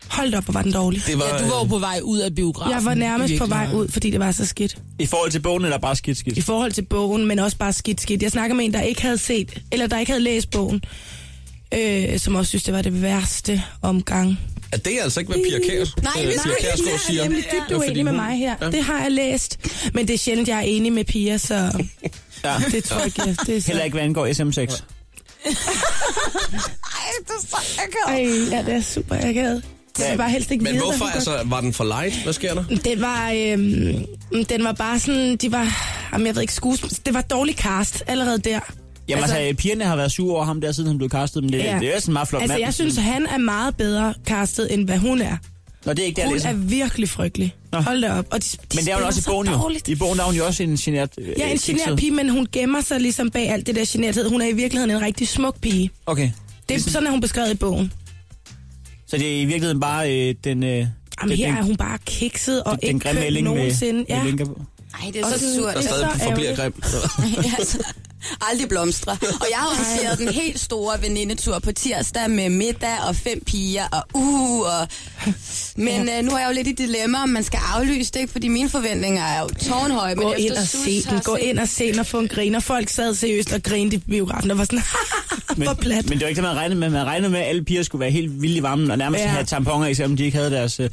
Speaker 14: Hold da op, hvor var den dårlig.
Speaker 4: Det var, øh,
Speaker 15: Ja, du var jo på vej ud af biografen.
Speaker 14: Jeg var nærmest på vej ud, fordi det var så skidt.
Speaker 6: I forhold til bogen, eller bare skidt skidt?
Speaker 14: I forhold til bogen, men også bare skidt skidt. Jeg snakker med en, der ikke havde set, eller der ikke havde læst bogen, øh, som også synes, det var det værste omgang.
Speaker 4: At det er altså ikke, hvad Pia Kærs,
Speaker 15: Nej,
Speaker 4: øh,
Speaker 15: men
Speaker 4: Pia
Speaker 15: nej,
Speaker 14: jeg
Speaker 4: Kærsgaard siger.
Speaker 14: er nemlig dybt
Speaker 4: Det var, fordi
Speaker 14: uenig med
Speaker 4: hun-
Speaker 14: mig her.
Speaker 4: Ja.
Speaker 14: Det har jeg læst, men det er sjældent, jeg er enig med piger, så
Speaker 6: Ja.
Speaker 14: det tror jeg ikke, det er så.
Speaker 6: Heller ikke, hvad angår SM6.
Speaker 15: Ej, det er så akavet.
Speaker 14: Ej, ja, det er super akavet. Jeg vil bare helst ikke
Speaker 4: Men
Speaker 14: vide,
Speaker 4: hvorfor?
Speaker 14: hvad hun
Speaker 4: Altså, var den for light? Hvad sker der?
Speaker 14: Den var, øhm, den var bare sådan, de var, jamen jeg ved ikke, skuespil, det var dårlig cast allerede der.
Speaker 6: Jamen altså,
Speaker 14: Altså-
Speaker 6: altså, pigerne har været sure over ham der, siden han blev castet, men det, ja. det er sådan en meget flot
Speaker 14: Altså
Speaker 6: mand.
Speaker 14: jeg synes, han er meget bedre castet, end hvad hun er.
Speaker 6: Nå, det er ikke det, jeg
Speaker 14: hun
Speaker 6: læser.
Speaker 14: er virkelig frygtelig. Nå. Hold da op. Og de, de
Speaker 6: Men det er
Speaker 14: spiller
Speaker 6: jo også i
Speaker 14: så
Speaker 6: bogen jo.
Speaker 14: dårligt.
Speaker 6: I bogen der er hun jo også en genert... øh,
Speaker 14: Ja, en
Speaker 6: kikset.
Speaker 14: genert pige, men hun gemmer sig ligesom bag alt det der generthed. Hun er i virkeligheden en rigtig smuk pige.
Speaker 6: Okay,
Speaker 14: Det er sådan, er hun beskrevet i bogen.
Speaker 6: så det er i virkeligheden bare øh, den... Øh,
Speaker 14: Jamen
Speaker 6: den,
Speaker 14: her
Speaker 6: den,
Speaker 14: er hun bare kikset og
Speaker 6: den
Speaker 14: ikke
Speaker 6: grimme
Speaker 14: køn
Speaker 6: ælling med-
Speaker 14: nogensinde.
Speaker 6: med linker på.
Speaker 15: Ej, det er
Speaker 14: Og
Speaker 15: så
Speaker 14: sådan-
Speaker 15: surt.
Speaker 4: Der
Speaker 14: det er
Speaker 4: stadig
Speaker 14: så
Speaker 4: forbliver
Speaker 14: ærgerligt.
Speaker 4: grim.
Speaker 15: Ja, altså, aldrig blomstre. Og jeg har arrangeret den helt store venindetur på tirsdag med middag og fem piger og uh. Og... Men øh, nu er jeg jo lidt i dilemma, om man skal aflyse det, ikke? fordi mine forventninger er jo tårnhøje.
Speaker 14: Gå
Speaker 15: men
Speaker 14: ind
Speaker 15: efter
Speaker 14: og
Speaker 15: Sus
Speaker 14: se den.
Speaker 15: har
Speaker 14: Gå
Speaker 15: set-
Speaker 14: ind og se den og få en grin. Og folk sad seriøst og grinede i biografen og var sådan, hvor plat.
Speaker 6: Men det var ikke det, man regnede med. Man regnede med, at alle piger skulle være helt vilde i varmen, og nærmest
Speaker 14: Ja.
Speaker 6: ja. have tamponer i, selvom de ikke havde deres... Øh,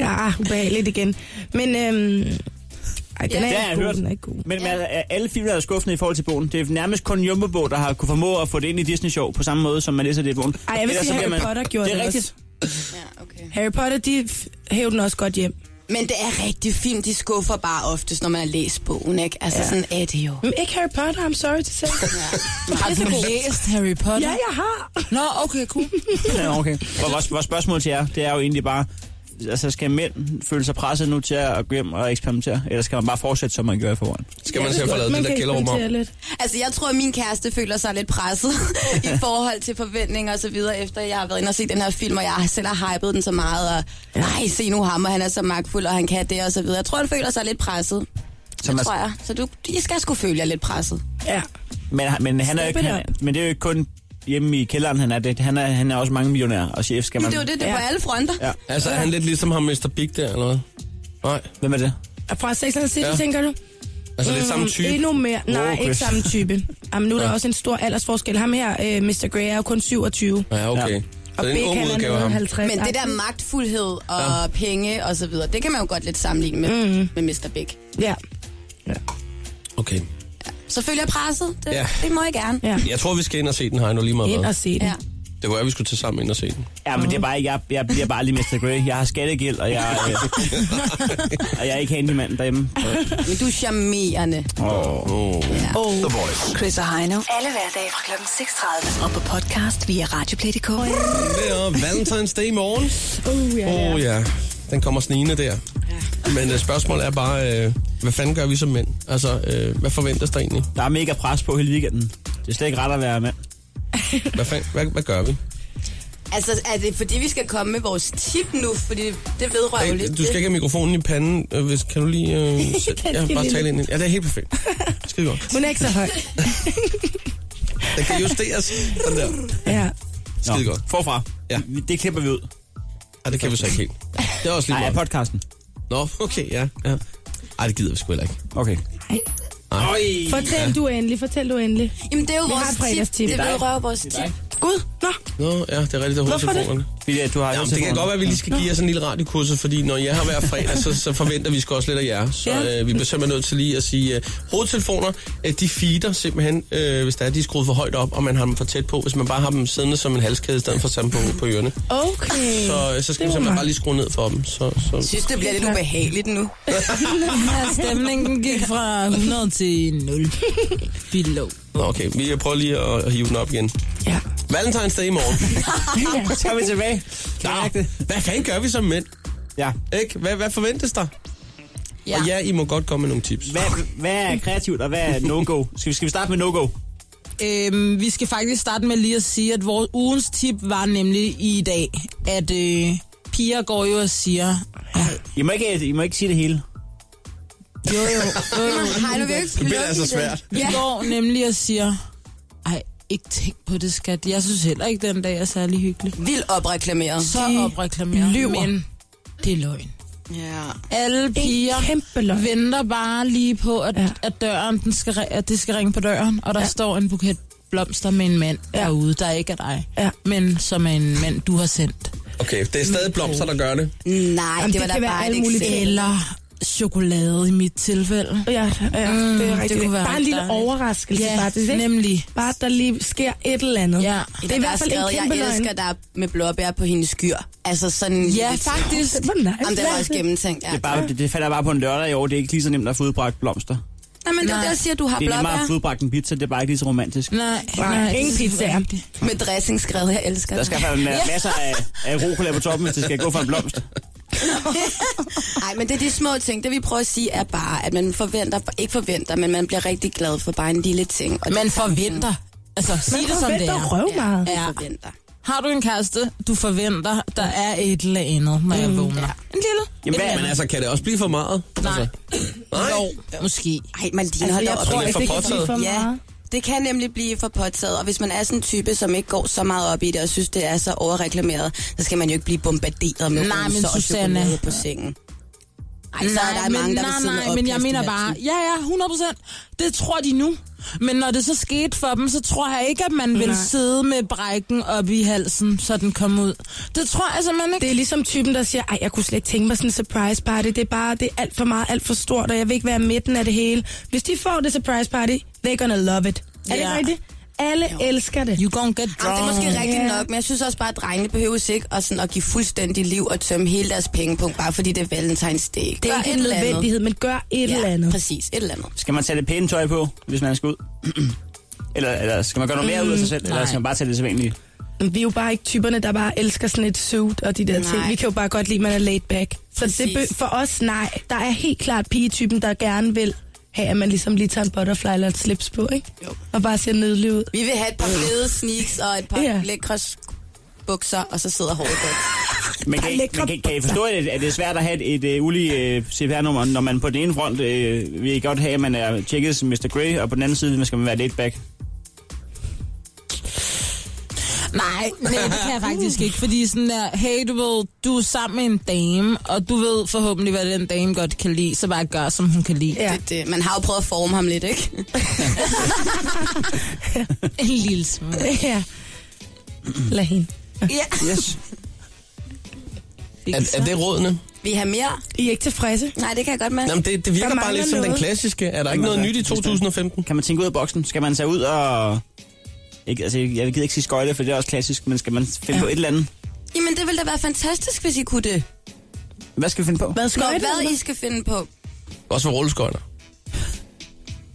Speaker 14: Ja, ubehageligt igen. Men øhm, ej, den
Speaker 6: det
Speaker 14: er
Speaker 6: har
Speaker 14: ikke
Speaker 6: jeg
Speaker 14: god,
Speaker 6: hørt.
Speaker 14: den er ikke god.
Speaker 6: Men ja. alle film er skuffende i forhold til bogen. Det er nærmest kun Jumbo der har kunne formå at få det ind i Disney Show på samme måde, som man læser det i bogen.
Speaker 14: Ej, jeg vil
Speaker 6: Ellers
Speaker 14: sige,
Speaker 6: så bliver
Speaker 14: Harry Potter gjorde
Speaker 6: det
Speaker 14: det
Speaker 6: er rigtigt.
Speaker 14: også. Harry Potter, de f- hævde den også godt hjem.
Speaker 15: Men det er rigtig film, de skuffer bare oftest, når man har læst bogen, ikke? Altså,
Speaker 14: Ja.
Speaker 15: ja. sådan er det jo.
Speaker 14: Men ikke Harry Potter, I'm sorry to say.
Speaker 15: Har
Speaker 14: du
Speaker 15: læst Harry Potter?
Speaker 14: ja, jeg har.
Speaker 15: Nå, okay, cool.
Speaker 6: Ja, okay. Og vores, vores spørgsmål til jer, det er jo egentlig bare, altså skal mænd føle sig presset nu til at gå hjem og eksperimentere, eller skal man bare fortsætte, som man gør i forvejen?
Speaker 4: Skal man til at få lavet
Speaker 14: Man
Speaker 4: det der
Speaker 14: kan
Speaker 4: kælderrum om?
Speaker 14: eksperimentere lidt.
Speaker 15: Altså, jeg tror, at min kæreste føler sig lidt presset i forhold til forventninger og så videre, efter jeg har været inde og set den her film, og jeg selv har hypet den så meget, og nej, se nu ham, og han er så magtfuld, og han kan det og så videre. Jeg tror, han føler sig lidt presset.
Speaker 6: Så
Speaker 15: Det
Speaker 6: man,
Speaker 15: tror jeg. Så du, I skal sgu føle jer lidt presset.
Speaker 14: Ja.
Speaker 6: men, men, han er jo ikke,
Speaker 14: Step it
Speaker 6: han, men det er jo ikke kun hjemme i kælderen, han er det. Han er, han er også mange millionær og chef, skal
Speaker 15: Men
Speaker 6: man...
Speaker 15: det er jo det, det er på alle fronter.
Speaker 6: Ja.
Speaker 4: Altså, er han lidt ligesom ham Mr. Big der, eller hvad? Nej.
Speaker 6: Hvem er det?
Speaker 14: Og fra Sex and the City,
Speaker 4: Ja.
Speaker 14: ja. tænker du?
Speaker 4: Altså, det er samme
Speaker 14: Mm,
Speaker 4: type.
Speaker 14: Endnu mere.
Speaker 4: Wow,
Speaker 14: Nej, ikke
Speaker 4: Chris.
Speaker 14: samme type. Jamen, nu er der også en stor aldersforskel. Ham her, øh, Mr. Grey, er jo kun 27.
Speaker 4: Ja,
Speaker 6: Ja.
Speaker 4: okay. Så det er en
Speaker 14: Big,
Speaker 4: ung
Speaker 14: han er
Speaker 4: udgave af ham.
Speaker 14: 50.
Speaker 15: Men det der magtfuldhed og ja. penge og så videre, det kan man jo godt lidt sammenligne med, mm. med Mr. Big.
Speaker 14: Ja.
Speaker 4: Okay.
Speaker 15: Så føler jeg presset. Det,
Speaker 4: Ja.
Speaker 15: ja. det må jeg gerne.
Speaker 14: ja.
Speaker 4: Jeg tror, vi skal ind og se den her nu lige meget.
Speaker 14: Ind
Speaker 4: hvad.
Speaker 14: og se den.
Speaker 15: Ja.
Speaker 4: Det var, at vi skulle tage sammen ind og se den.
Speaker 6: Ja, men det er bare, ikke- jeg, jeg bliver bare lige Mr. Grey. Jeg har skattegæld, og jeg, øh, og jeg er ikke handymand derhjemme.
Speaker 15: Men du er charmerende.
Speaker 6: Oh. Oh.
Speaker 14: Oh.
Speaker 5: The Voice.
Speaker 3: Chris og Heino.
Speaker 2: Alle hverdage fra kl. 6.30.
Speaker 3: Og på podcast via Radioplay.dk.
Speaker 4: Det er Valentine's Day i morgen.
Speaker 14: Uh, ja, ja.
Speaker 4: Åh oh, ja, den kommer snigende der. Men øh, spørgsmålet er bare, øh, hvad fanden gør vi som mænd? Altså, øh, hvad forventes der egentlig?
Speaker 6: Der er mega pres på hele weekenden. Det er slet ikke ret at være mand.
Speaker 4: Hvad, fanden, hvad, hvad gør vi?
Speaker 15: Altså, er det fordi, vi skal komme med vores tip nu? Fordi det vedrører jo
Speaker 4: Hey,
Speaker 15: lidt.
Speaker 4: du skal
Speaker 15: det.
Speaker 4: ikke have mikrofonen i panden. Øh, hvis, kan du lige øh, sæt,
Speaker 14: Kan
Speaker 4: ja,
Speaker 14: de
Speaker 4: bare
Speaker 14: lige-
Speaker 4: tale ind? i den? Ja, det er helt perfekt. Skide godt.
Speaker 14: Hun er ikke så høj.
Speaker 4: Den kan justeres. Den der.
Speaker 14: Ja.
Speaker 4: Skide godt.
Speaker 6: Forfra.
Speaker 4: Ja.
Speaker 6: Vi- Det klipper vi ud.
Speaker 4: Ej, det kan vi så ikke helt. Det er også lige
Speaker 6: Nej, af
Speaker 4: meget.
Speaker 6: podcasten.
Speaker 4: Nå, okay, ja. ja. Ej, det gider vi sgu heller ikke.
Speaker 6: Okay.
Speaker 4: Ej.
Speaker 14: Fortæl du endelig, fortæl du endelig.
Speaker 15: Jamen, det er jo
Speaker 14: Vi har et
Speaker 15: vores
Speaker 14: fredagstip.
Speaker 15: tip. Det
Speaker 14: Det er dig.
Speaker 15: vedrører vores tip.
Speaker 14: Gud, nå.
Speaker 4: Nå, ja, det er rigtigt, der er
Speaker 14: Hvorfor det?
Speaker 4: hovedtelefonerne.
Speaker 6: Fordi at du har
Speaker 4: Jamen, det kan godt være, at vi lige skal give jer sådan en lille radiokursus, fordi når jeg har hver fredag, så, så forventer vi sgu også lidt af jer. Så
Speaker 14: Ja.
Speaker 4: øh, vi bliver simpelthen nødt til lige at sige, øh, hovedtelefoner, øh, de feeder simpelthen, øh, hvis der er, de er skruet for højt op, og man har dem for tæt på. Hvis man bare har dem siddende som en halskæde, i stedet for sammen på, på ørerne,
Speaker 14: Okay.
Speaker 4: så, øh, så skal
Speaker 14: Det var
Speaker 4: man simpelthen
Speaker 14: mig.
Speaker 4: bare lige skrue ned for dem. Så,
Speaker 15: Jeg
Speaker 4: så.
Speaker 15: synes, det bliver lidt ubehageligt nu.
Speaker 16: Stemningen gik fra 100 til 0. Below.
Speaker 4: Nå, okay, vi prøver lige at, at hive den op igen.
Speaker 14: Ja.
Speaker 4: Valentine's Day i morgen.
Speaker 6: Så er vi tilbage. Kan jeg mærke
Speaker 4: Nå,
Speaker 6: det?
Speaker 4: hvad fanden gør vi som mænd?
Speaker 6: Ja.
Speaker 4: Ikke? Hvad, hvad forventes der?
Speaker 15: Ja.
Speaker 4: Og ja, I må godt komme med nogle tips.
Speaker 6: Hvad, hvad er kreativt, og hvad er no-go? Skal vi, skal vi starte med no-go?
Speaker 16: Øhm, vi skal faktisk starte med lige at sige, at vores ugens tip var nemlig i dag, at øh, piger går jo og siger...
Speaker 6: I må, ikke, I må ikke sige det hele.
Speaker 16: Jo, jo, jo, jo.
Speaker 15: Hej, du vil ikke
Speaker 4: Det bliver
Speaker 15: lukke i
Speaker 4: altså
Speaker 15: det.
Speaker 4: svært.
Speaker 16: Vi
Speaker 15: Ja.
Speaker 16: går nemlig og siger... Ej, ikke tænk på det, skat. Jeg synes heller ikke, den dag er særlig hyggelig.
Speaker 15: Vildt opreklameret.
Speaker 16: Så opreklameret.
Speaker 14: lyver.
Speaker 16: Men det er løgn.
Speaker 15: Ja.
Speaker 16: Alle piger
Speaker 14: Kæmpe løgn.
Speaker 16: venter bare lige på, at,
Speaker 14: Ja.
Speaker 16: ja. at, døren, den skal, ri- at det skal ringe på døren, og der ja. står en buket blomster med en mand ja. derude, der ikke er dig,
Speaker 14: Ja.
Speaker 16: men som er en mand, du har sendt.
Speaker 4: Okay, det er stadig blomster, der gør det.
Speaker 15: Nej,
Speaker 14: Jamen, det
Speaker 15: det var da
Speaker 14: kan være
Speaker 15: bare
Speaker 14: alle
Speaker 15: et
Speaker 14: mulige
Speaker 15: eksempel.
Speaker 16: Eller chokolade i mit tilfælde.
Speaker 14: Ja, ja mm, det er rigtigt. Det bare en lille
Speaker 16: dejligt.
Speaker 14: overraskelse
Speaker 16: ja,
Speaker 14: faktisk, ikke?
Speaker 16: nemlig.
Speaker 14: Bare, at der lige sker et eller andet.
Speaker 16: Ja.
Speaker 14: Det er i hvert fald en kæmpe
Speaker 15: Jeg elsker,
Speaker 14: løgn.
Speaker 15: der er med blåbær på hendes skyr. Altså sådan
Speaker 16: Ja,
Speaker 15: lidt-
Speaker 16: faktisk.
Speaker 14: Det var nice.
Speaker 15: Jamen, det var også gennemtænkt. Ja.
Speaker 6: Det, er bare, det, det falder bare på en lørdag i år. Det er ikke lige så nemt at få udbragt blomster.
Speaker 15: Nej, men det er
Speaker 16: Nej.
Speaker 15: det, jeg siger, du har
Speaker 6: det er nemmere
Speaker 15: blåbær.
Speaker 6: at få udbragt en pizza. Det er bare ikke lige så romantisk.
Speaker 16: Nej,
Speaker 14: Nej, ingen
Speaker 16: det er
Speaker 14: pizzaer.
Speaker 16: rigtigt.
Speaker 15: Med dressingskred, jeg elsker
Speaker 6: Der skal i hvert fald være masser af, af rucola på toppen, hvis det skal gå for en blomst.
Speaker 15: Nej, men det er de små ting. Det vi prøver at sige er bare, at man forventer, ikke forventer, men man bliver rigtig glad for bare en lille ting. Og ligesom
Speaker 16: Man forventer. Altså, sig det som det
Speaker 14: forventer
Speaker 16: er.
Speaker 14: røv meget.
Speaker 15: Ja,
Speaker 16: Ja.
Speaker 15: man forventer.
Speaker 16: Har du en kæreste, du forventer, der er et eller andet, når jeg vågner? En lille.
Speaker 6: Jamen, hvad,
Speaker 4: Men altså, kan det også blive for meget?
Speaker 16: Nej.
Speaker 4: Altså,
Speaker 16: Jo, måske.
Speaker 15: Ej, man ligner
Speaker 14: Altså,
Speaker 15: altså,
Speaker 14: jeg
Speaker 15: op.
Speaker 14: tror
Speaker 4: Det er
Speaker 14: ikke,
Speaker 4: for
Speaker 14: det kan blive
Speaker 4: påtaget.
Speaker 14: for
Speaker 15: Ja,
Speaker 14: meget.
Speaker 15: det kan nemlig blive for påtaget, og hvis man er sådan en type, som ikke går så meget op i det, og synes, det er så overreklameret, så skal man jo ikke blive bombarderet med
Speaker 16: Nej, men
Speaker 15: roser og
Speaker 16: Susanne.
Speaker 15: chokolade på sengen. Ej, så er der
Speaker 16: men,
Speaker 15: mange, der vil
Speaker 16: nej,
Speaker 15: sidde med
Speaker 16: nej, men jeg
Speaker 15: opkast i
Speaker 16: mener
Speaker 15: halsen.
Speaker 16: bare, ja, ja, 100 procent. Det tror de nu. Men når det så skete for dem, så tror jeg ikke, at man vil sidde med brækken op i halsen, så den kom ud. Det tror jeg simpelthen ikke.
Speaker 14: Det er ligesom typen, der siger, ej, jeg kunne slet ikke tænke mig sådan en surprise party. Det er bare, det er alt for meget, alt for stort, og jeg vil ikke være midten af det hele. Hvis de får det surprise party, they're gonna love it. Er det
Speaker 16: Ja.
Speaker 14: ikke rigtigt? Alle elsker det.
Speaker 16: You gonna get
Speaker 15: Jamen, det er
Speaker 16: drunk.
Speaker 15: måske rigtigt
Speaker 14: Ja.
Speaker 15: nok, men jeg synes også bare, at drengene behøves ikke at, sådan, at give fuldstændig liv og tømme hele deres pengepunkt, bare fordi det er Valentine's Day.
Speaker 14: Det er
Speaker 15: Gør
Speaker 14: ikke
Speaker 15: et
Speaker 14: en
Speaker 15: eller andet.
Speaker 14: nødvendighed, men gør et eller
Speaker 15: Ja,
Speaker 14: andet.
Speaker 15: præcis. Et eller andet.
Speaker 6: Skal man tage det pæne tøj på, hvis man skal ud? eller, eller skal man gøre noget mere ud af sig selv? Eller skal man bare tage det sædvanlige?
Speaker 14: Men Vi er jo bare ikke typerne, der bare elsker sådan et suit og de der
Speaker 15: Nej.
Speaker 14: nej. ting. Vi kan jo bare godt lide, at man er laid back. Så det
Speaker 15: Præcis.
Speaker 14: be- for os, nej. Der er helt klart pigetypen, der gerne vil have, at man ligesom lige tager en butterfly eller et slips på, ikke?
Speaker 15: Jo.
Speaker 14: Og bare ser nødlig ud.
Speaker 15: Vi vil have et par fede sneaks og et par
Speaker 14: Ja.
Speaker 15: yeah. lækre sk- bukser, og så sidder håret godt.
Speaker 6: Men kan,
Speaker 14: Bare
Speaker 6: I-
Speaker 14: lækre
Speaker 6: man kan, kan I forstå, at det, at det er svært at have et, et uh, ulige uh, CPR-nummer, når man på den ene front uh, vil I godt have, at man er tjekket som Mr. Grey, og på den anden side man skal man være laid back?
Speaker 16: Nej, nej, det kan jeg faktisk ikke, fordi sådan der, hey, du ved, du er sammen med en dame, og du ved forhåbentlig, hvad den dame godt kan lide, så bare gør, som hun kan lide.
Speaker 14: Ja.
Speaker 15: Det, det, man har jo prøvet at forme ham lidt, ikke?
Speaker 16: En lille smule.
Speaker 14: ja. Lad hende.
Speaker 15: ja.
Speaker 6: Yes.
Speaker 4: er, er det rådene?
Speaker 15: Vi har mere.
Speaker 14: I er ikke tilfredse?
Speaker 15: Nej, det kan jeg godt mærke.
Speaker 4: Jamen, det, det virker
Speaker 14: Der
Speaker 4: bare
Speaker 14: mangler
Speaker 4: lidt som den
Speaker 14: noget.
Speaker 4: klassiske. Er der ikke noget nyt i 2015?
Speaker 6: Kan altså, man tænke ud af boksen? Skal man tage ud og... Ikke, altså, jeg gider ikke sige skøjte, for det er også klassisk, men skal man finde ja. på et eller andet?
Speaker 15: Jamen, det ville da være fantastisk, hvis I kunne det.
Speaker 6: Hvad skal vi finde på?
Speaker 14: Hvad
Speaker 15: Nå,
Speaker 14: skal det?
Speaker 15: hvad I skal finde på.
Speaker 4: Også for rulleskøjter.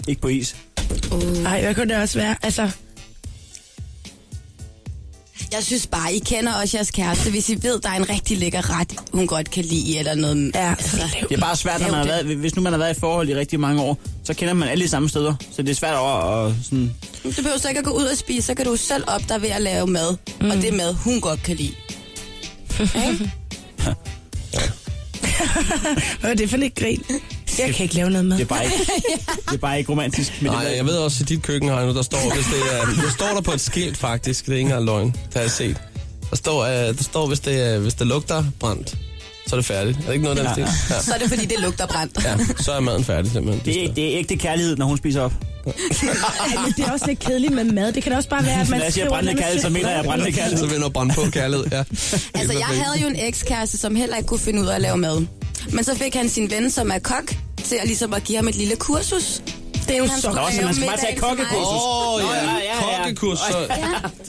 Speaker 6: Ikke på is.
Speaker 14: Ej, hvad kunne det også være? Altså,
Speaker 15: Jeg synes bare, I kender også jeres kæreste, hvis I ved, der er en rigtig lækker ret, hun godt kan lide, eller noget.
Speaker 14: ja.
Speaker 6: Det er bare svært, når man har været, hvis nu man har været i forhold i rigtig mange år, så kender man alle de samme steder. Så det er svært over at sådan...
Speaker 15: Du behøver så ikke at gå ud og spise, så kan du selv op dig ved at lave mad. Mm. Og det mad, hun godt kan lide.
Speaker 14: Hvad er det for et grin? Jeg kan ikke lave noget med.
Speaker 6: Det er bare ikke, det er bare ikke romantisk. Men
Speaker 4: Nej,
Speaker 6: det,
Speaker 4: jeg ved også, at i dit køkken, Heino, der står, hvis det er, der står der på et skilt faktisk, det er ikke engang løgn, det har jeg set. Der står, uh, der står hvis, det, øh, hvis det lugter brændt, så er det færdigt. Er det ikke noget, der ja. stil? Ja.
Speaker 15: Så er det, fordi det lugter brændt.
Speaker 4: ja. så er maden færdig simpelthen.
Speaker 6: det, er, det er ægte kærlighed, når hun spiser op.
Speaker 14: Ej, men det er også lidt kedeligt med mad. Det kan da også bare være, at man
Speaker 6: Når jeg siger
Speaker 14: skriver
Speaker 6: brændende
Speaker 14: noget med
Speaker 6: kærlighed, så mener jeg brændende
Speaker 4: Så
Speaker 6: kærlighed.
Speaker 4: vender brænde på kærlighed, ja.
Speaker 15: Altså, jeg havde jo en ekskæreste, som heller ikke kunne finde ud af at lave mad. Men så fik han sin ven, som er kok, til at, ligesom at give ham et lille kursus. Det er jo
Speaker 14: så
Speaker 6: Nå, så man skal bare tage kokkekursus.
Speaker 4: Åh, oh, ja,
Speaker 6: ja, ja, ja.
Speaker 4: kokkekurs. Så...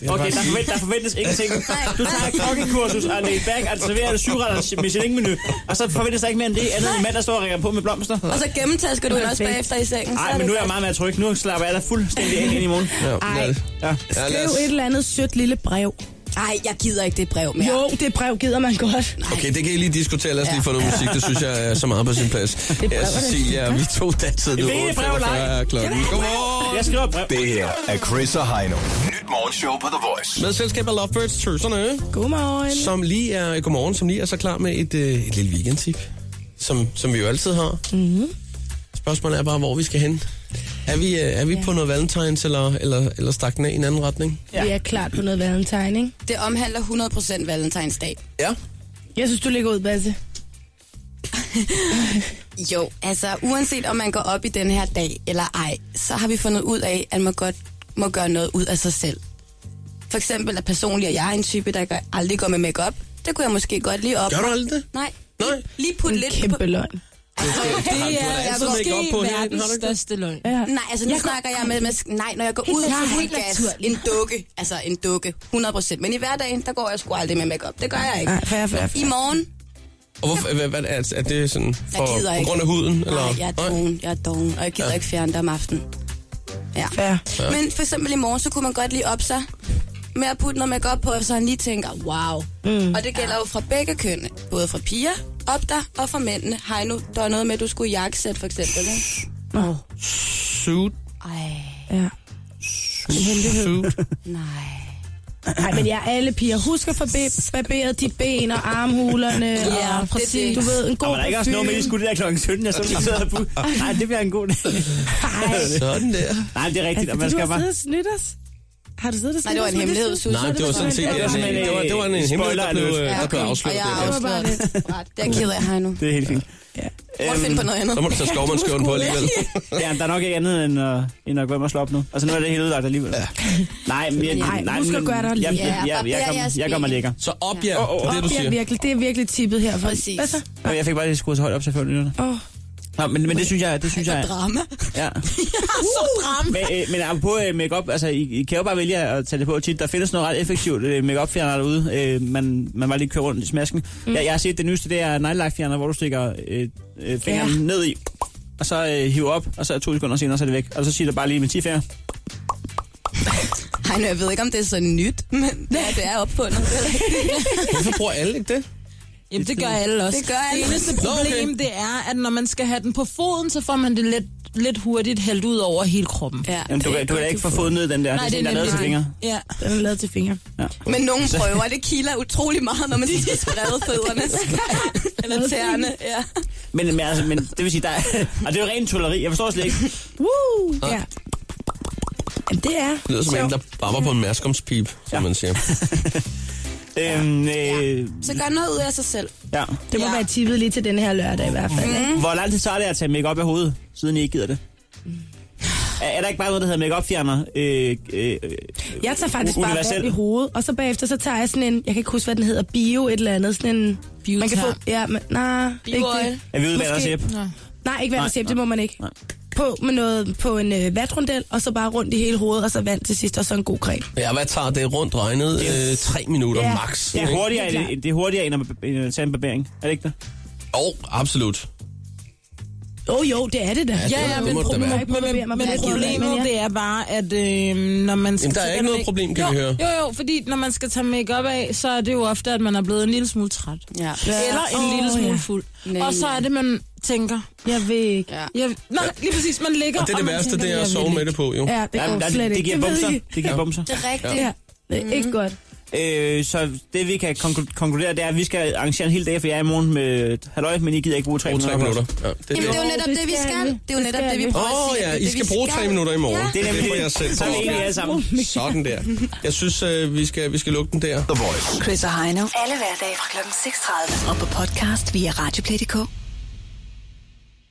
Speaker 6: Okay, der, forvent, der forventes ingenting. Du tager et kokkekursus og laid back, og serverer du syvretters Michelin-menu. Og så forventes der ikke mere end det, andet end en mand, der står og ringer på med blomster.
Speaker 15: Og så gennemtasker du den også
Speaker 14: Perfekt.
Speaker 15: bagefter i sengen. Så er
Speaker 6: Nej, men
Speaker 15: det
Speaker 6: nu er jeg
Speaker 15: godt.
Speaker 6: meget mere tryg. Nu slapper jeg da fuldstændig af ind i morgen.
Speaker 4: Ja,
Speaker 14: Ej.
Speaker 4: lad-
Speaker 6: Ja.
Speaker 4: Ja, lad
Speaker 14: Skriv
Speaker 4: os-
Speaker 14: et eller andet sødt lille brev.
Speaker 15: Ej, jeg gider ikke det brev mere.
Speaker 14: Jo, det brev gider man godt.
Speaker 4: Okay, det kan I lige diskutere. Lad os lige få noget musik. Det synes jeg er så meget på sin plads. Ja, Cecilia, vi to dansede nu.
Speaker 6: Det er et brev,
Speaker 4: 8.45
Speaker 6: nej.
Speaker 4: er klokken. Godmorgen.
Speaker 6: Jeg skriver et brev.
Speaker 5: Det her er Chris og Heino. Nyt morgenshow på The Voice.
Speaker 4: Med selskab af Lovebirds, tøserne,
Speaker 14: Godmorgen.
Speaker 4: som lige er, godmorgen, som lige er så klar med et, øh, et lille weekendtip, som, som vi jo altid har. Mm-hmm. Spørgsmålet er bare, hvor vi skal hen. Er vi, øh, er vi ja. på noget valentines, eller, eller, eller stak den af i en anden retning?
Speaker 14: Vi er klart på noget valentine, ikke?
Speaker 15: Det omhandler 100% valentinsdag.
Speaker 4: Ja.
Speaker 14: Jeg synes, du ligger ud, Basse.
Speaker 15: Jo, altså uanset om man går op i den her dag eller ej, så har vi fundet ud af, at man godt må gøre noget ud af sig selv. For eksempel at personligt, og jeg er en type, der gør- aldrig går med makeup. Det kunne jeg måske godt lige op.
Speaker 4: Gør du aldrig det?
Speaker 15: Nej.
Speaker 4: Nej.
Speaker 15: Lige, lige putte lidt
Speaker 14: Kæmpe
Speaker 15: på...
Speaker 14: løgn.
Speaker 15: Ej,
Speaker 16: Det er- er måske verdens største løgn. Ja.
Speaker 15: Nej, altså nu
Speaker 16: Jeg
Speaker 15: jeg
Speaker 16: går-
Speaker 15: snakker jeg med, med, nej, når jeg går
Speaker 16: Helt
Speaker 15: ud, så
Speaker 16: klart.
Speaker 15: er
Speaker 16: Helt
Speaker 15: jeg gas,
Speaker 16: naturlig.
Speaker 15: en dukke, altså en dukke, 100%. Men i hverdagen, der går jeg sgu aldrig med makeup. Det gør jeg ikke.
Speaker 14: Nej, fair, fair, fair.
Speaker 15: I morgen,
Speaker 4: Og hvorfor, hvad, hvad, er, er det sådan for,
Speaker 15: jeg gider
Speaker 4: på
Speaker 15: ikke.
Speaker 4: grund af huden?
Speaker 15: Nej,
Speaker 4: eller?
Speaker 15: jeg er dogen, jeg er dogen, og jeg gider ja. ikke fjerne dig om aftenen. Ja.
Speaker 14: Ja.
Speaker 15: Ja. Men for eksempel i morgen, så kunne man godt lige op sig med at putte noget makeup på, så han lige tænker, wow. Mm. Og det gælder ja. jo fra begge køn, både fra piger, op der og fra mændene. Hej nu, der er noget med, at du skulle i jakkesæt for eksempel, ikke?
Speaker 14: Nå.
Speaker 4: Suit.
Speaker 14: Ja. Hemmelighed.
Speaker 15: Nej.
Speaker 14: Nej, men jeg alle piger. Husk at forbe- barbere dit ben og armhulerne.
Speaker 6: Ja,
Speaker 14: og,
Speaker 6: præcis.
Speaker 14: Du ved, en god
Speaker 6: Og var der ikke også noget med, at I skulle det der klokken 17, og så blev sidder på. Nej, det bliver en god dag.
Speaker 4: Sådan der.
Speaker 6: Nej, det er rigtigt, og
Speaker 14: Fordi
Speaker 6: man
Speaker 14: Altså, du
Speaker 6: skal
Speaker 14: har
Speaker 6: bare...
Speaker 14: siddet og snydt os. Har du siddet og snydt os?
Speaker 15: Nej, det var en
Speaker 14: med
Speaker 15: hemmelighed,
Speaker 14: det?
Speaker 15: Susse. Nej,
Speaker 4: det var sådan set
Speaker 6: Det var
Speaker 4: en,
Speaker 6: sådan en,
Speaker 4: øh, det var, det var en
Speaker 6: øh,
Speaker 4: hemmelighed, der blev,
Speaker 6: spoiler
Speaker 4: øh, der blev
Speaker 15: okay. Og
Speaker 4: afsløret.
Speaker 15: jeg
Speaker 4: der.
Speaker 15: er afsløret. Det er jeg ked af, hej nu.
Speaker 6: Det er helt fint. Øhm,
Speaker 15: Prøv at finde på noget andet.
Speaker 4: så må du tage skovmandskøven på alligevel.
Speaker 6: ja, der er nok ikke andet end, uh, end at gå hjem og slå op nu. Altså nu er det helt udlagt alligevel. Ja. Nej, men jeg,
Speaker 14: Nej,
Speaker 6: nej,
Speaker 14: nu skal
Speaker 6: men-
Speaker 14: du gøre dig
Speaker 6: jeg, jeg,
Speaker 14: lækker.
Speaker 6: jeg, jeg,
Speaker 14: Barber
Speaker 6: jeg,
Speaker 14: jeres
Speaker 6: jeg, jeg gør mig
Speaker 14: ben.
Speaker 6: lækker.
Speaker 4: Så op jer, ja. det er det, du
Speaker 14: Op, ja,
Speaker 4: siger.
Speaker 14: virkelig, det er virkelig tippet her. Præcis. Hvad så?
Speaker 6: Nå, jeg fik bare lige skruet så højt op, selvfølgelig.
Speaker 14: Åh.
Speaker 6: Nå, men, men det synes jeg, det synes jeg,
Speaker 15: Drama.
Speaker 6: ja.
Speaker 15: så drama.
Speaker 6: Men, øh, men apropos øh, makeup, altså I, I kan jo bare vælge at tage det på tit. Der findes noget ret effektivt øh, makeup fjerner derude. Øh, man, man bare lige kører rundt i smasken. Mm. Jeg, jeg har set det nyeste, det er nightlight fjerner, hvor du stikker øh, øh, fingeren
Speaker 14: Ja.
Speaker 6: ja. ned i, og så øh, hiver op, og så er to sekunder senere, så er det væk. Og så siger det bare lige med 10 fingre.
Speaker 15: Hej nu, jeg ved ikke, om det er så nyt, men det er, det er opfundet. Det er rigtigt.
Speaker 4: Hvorfor bruger alle ikke det?
Speaker 16: Jamen, det gør alle også.
Speaker 15: Det gør alle.
Speaker 16: Det eneste
Speaker 15: Nå, okay.
Speaker 16: problem, det er, at når man skal have den på foden, så får man det lidt, lidt hurtigt hældt ud over hele kroppen.
Speaker 15: Ja,
Speaker 6: Jamen, du, kan- du kan da ikke få fået ned i den der.
Speaker 16: Nej,
Speaker 6: det er
Speaker 16: det
Speaker 6: sådan,
Speaker 16: er
Speaker 6: der er lavet til
Speaker 16: nemlig
Speaker 6: fingre.
Speaker 16: Ja.
Speaker 14: Den er lavet til fingre.
Speaker 6: Ja.
Speaker 15: Men nogen prøver, det kilder utrolig meget, når man skal sprede fødderne. Eller tæerne, ja.
Speaker 6: Men, men, altså, men det vil sige, der er, og det er jo ren tulleri. Jeg forstår slet ikke.
Speaker 14: Woo! Ja. Jamen, det er
Speaker 4: Det lyder som en,
Speaker 14: sjovt.
Speaker 4: der babber på en maskomspip, som man siger.
Speaker 6: Øhm, øh,
Speaker 15: Så gør noget ud af sig selv.
Speaker 6: ja.
Speaker 14: Det må være tippet lige til den her lørdag i hvert fald.
Speaker 15: Mhm.
Speaker 14: ikke?
Speaker 6: Hvor lang tid tager det at tage makeup af hovedet, siden I ikke gider det? Er, er der ikke bare noget, der hedder makeup fjerner øh, øh, øh,
Speaker 14: Jeg tager faktisk bare
Speaker 6: universel?
Speaker 14: vand i hovedet, og så bagefter så tager jeg sådan en, jeg kan ikke huske, hvad den hedder, bio et eller andet, sådan en...
Speaker 16: Biotar.
Speaker 14: Man kan få, ja, men, nej, ikke det.
Speaker 6: Er vi ude i
Speaker 14: Måske-
Speaker 6: vandet og
Speaker 14: Nej, ikke
Speaker 6: Nej,
Speaker 14: vand og det
Speaker 6: nej,
Speaker 14: må man ikke.
Speaker 6: nej.
Speaker 14: På med noget på en øh, vatrundel, og så bare rundt i hele hovedet, og så vand til sidst, og så en god creme.
Speaker 4: Ja, hvad tager det rundt regnet? Øh, tre minutter
Speaker 14: Ja.
Speaker 4: max.
Speaker 6: Det er
Speaker 4: ikke?
Speaker 6: hurtigere,
Speaker 14: Helt
Speaker 6: det, det er hurtigere end, at, end at tage en barbering. Er det ikke det?
Speaker 4: Jo, absolut.
Speaker 14: Jo, oh, jo, det er det da.
Speaker 4: Ja,
Speaker 16: Ja, ja,
Speaker 4: det
Speaker 16: men,
Speaker 4: må det da
Speaker 16: problemet,
Speaker 4: være.
Speaker 16: men, men, men,
Speaker 14: Jeg er ked af det,
Speaker 16: problemet
Speaker 14: men ja.
Speaker 16: det er bare, at øh, når man skal...
Speaker 4: Jamen, der er
Speaker 16: tage
Speaker 4: ikke
Speaker 16: den
Speaker 4: noget
Speaker 16: make-
Speaker 4: problem, kan
Speaker 16: jo,
Speaker 4: vi høre.
Speaker 16: Jo, jo, fordi når man skal tage makeup af, så er det jo ofte, at man er blevet en lille smule træt.
Speaker 15: Ja.
Speaker 16: Eller en
Speaker 14: Åh,
Speaker 16: lille smule
Speaker 14: ja.
Speaker 16: fuld.
Speaker 15: Nej,
Speaker 16: og så
Speaker 15: nej.
Speaker 16: er det, man tænker...
Speaker 14: Jeg ved ikke.
Speaker 15: Ja.
Speaker 16: Jeg, nej, lige præcis, man ligger...
Speaker 4: Og det er det
Speaker 16: man
Speaker 4: værste,
Speaker 16: tænker,
Speaker 4: det er at
Speaker 16: jeg
Speaker 4: sove
Speaker 16: vil
Speaker 4: med
Speaker 16: ikke.
Speaker 4: det på, jo.
Speaker 14: Ja, det går
Speaker 6: Jamen, der-
Speaker 14: slet ikke.
Speaker 6: det giver
Speaker 14: ved
Speaker 6: bumser.
Speaker 14: jeg ikke.
Speaker 6: Det giver bumser.
Speaker 15: Det er rigtigt.
Speaker 14: Ja, det er ikke godt.
Speaker 6: Øh, så det vi kan konklu- konkludere, det er, at vi skal arrangere en hel dag for jer i morgen med halløj, men I gider ikke bruge tre
Speaker 4: Brug
Speaker 6: minutter.
Speaker 4: tre minutter. Ja, det er
Speaker 15: Jamen, det er
Speaker 4: det.
Speaker 15: jo netop det, vi skal. Det er jo netop det, vi prøver at
Speaker 4: Åh
Speaker 15: sige. Det
Speaker 4: ja,
Speaker 15: er
Speaker 4: I
Speaker 15: det,
Speaker 4: skal
Speaker 15: vi
Speaker 4: bruge tre minutter i morgen.
Speaker 15: Ja.
Speaker 4: Det
Speaker 6: Det er
Speaker 4: er
Speaker 6: nemlig
Speaker 4: for jer selv.
Speaker 6: Så er vi enige alle sammen.
Speaker 4: Sådan der. Jeg synes, øh, vi, skal, vi skal lukke den der.
Speaker 5: The Voice.
Speaker 3: Chris og Heino.
Speaker 2: Alle hverdage fra kl. 6.30.
Speaker 3: Og på podcast via Radioplay.dk.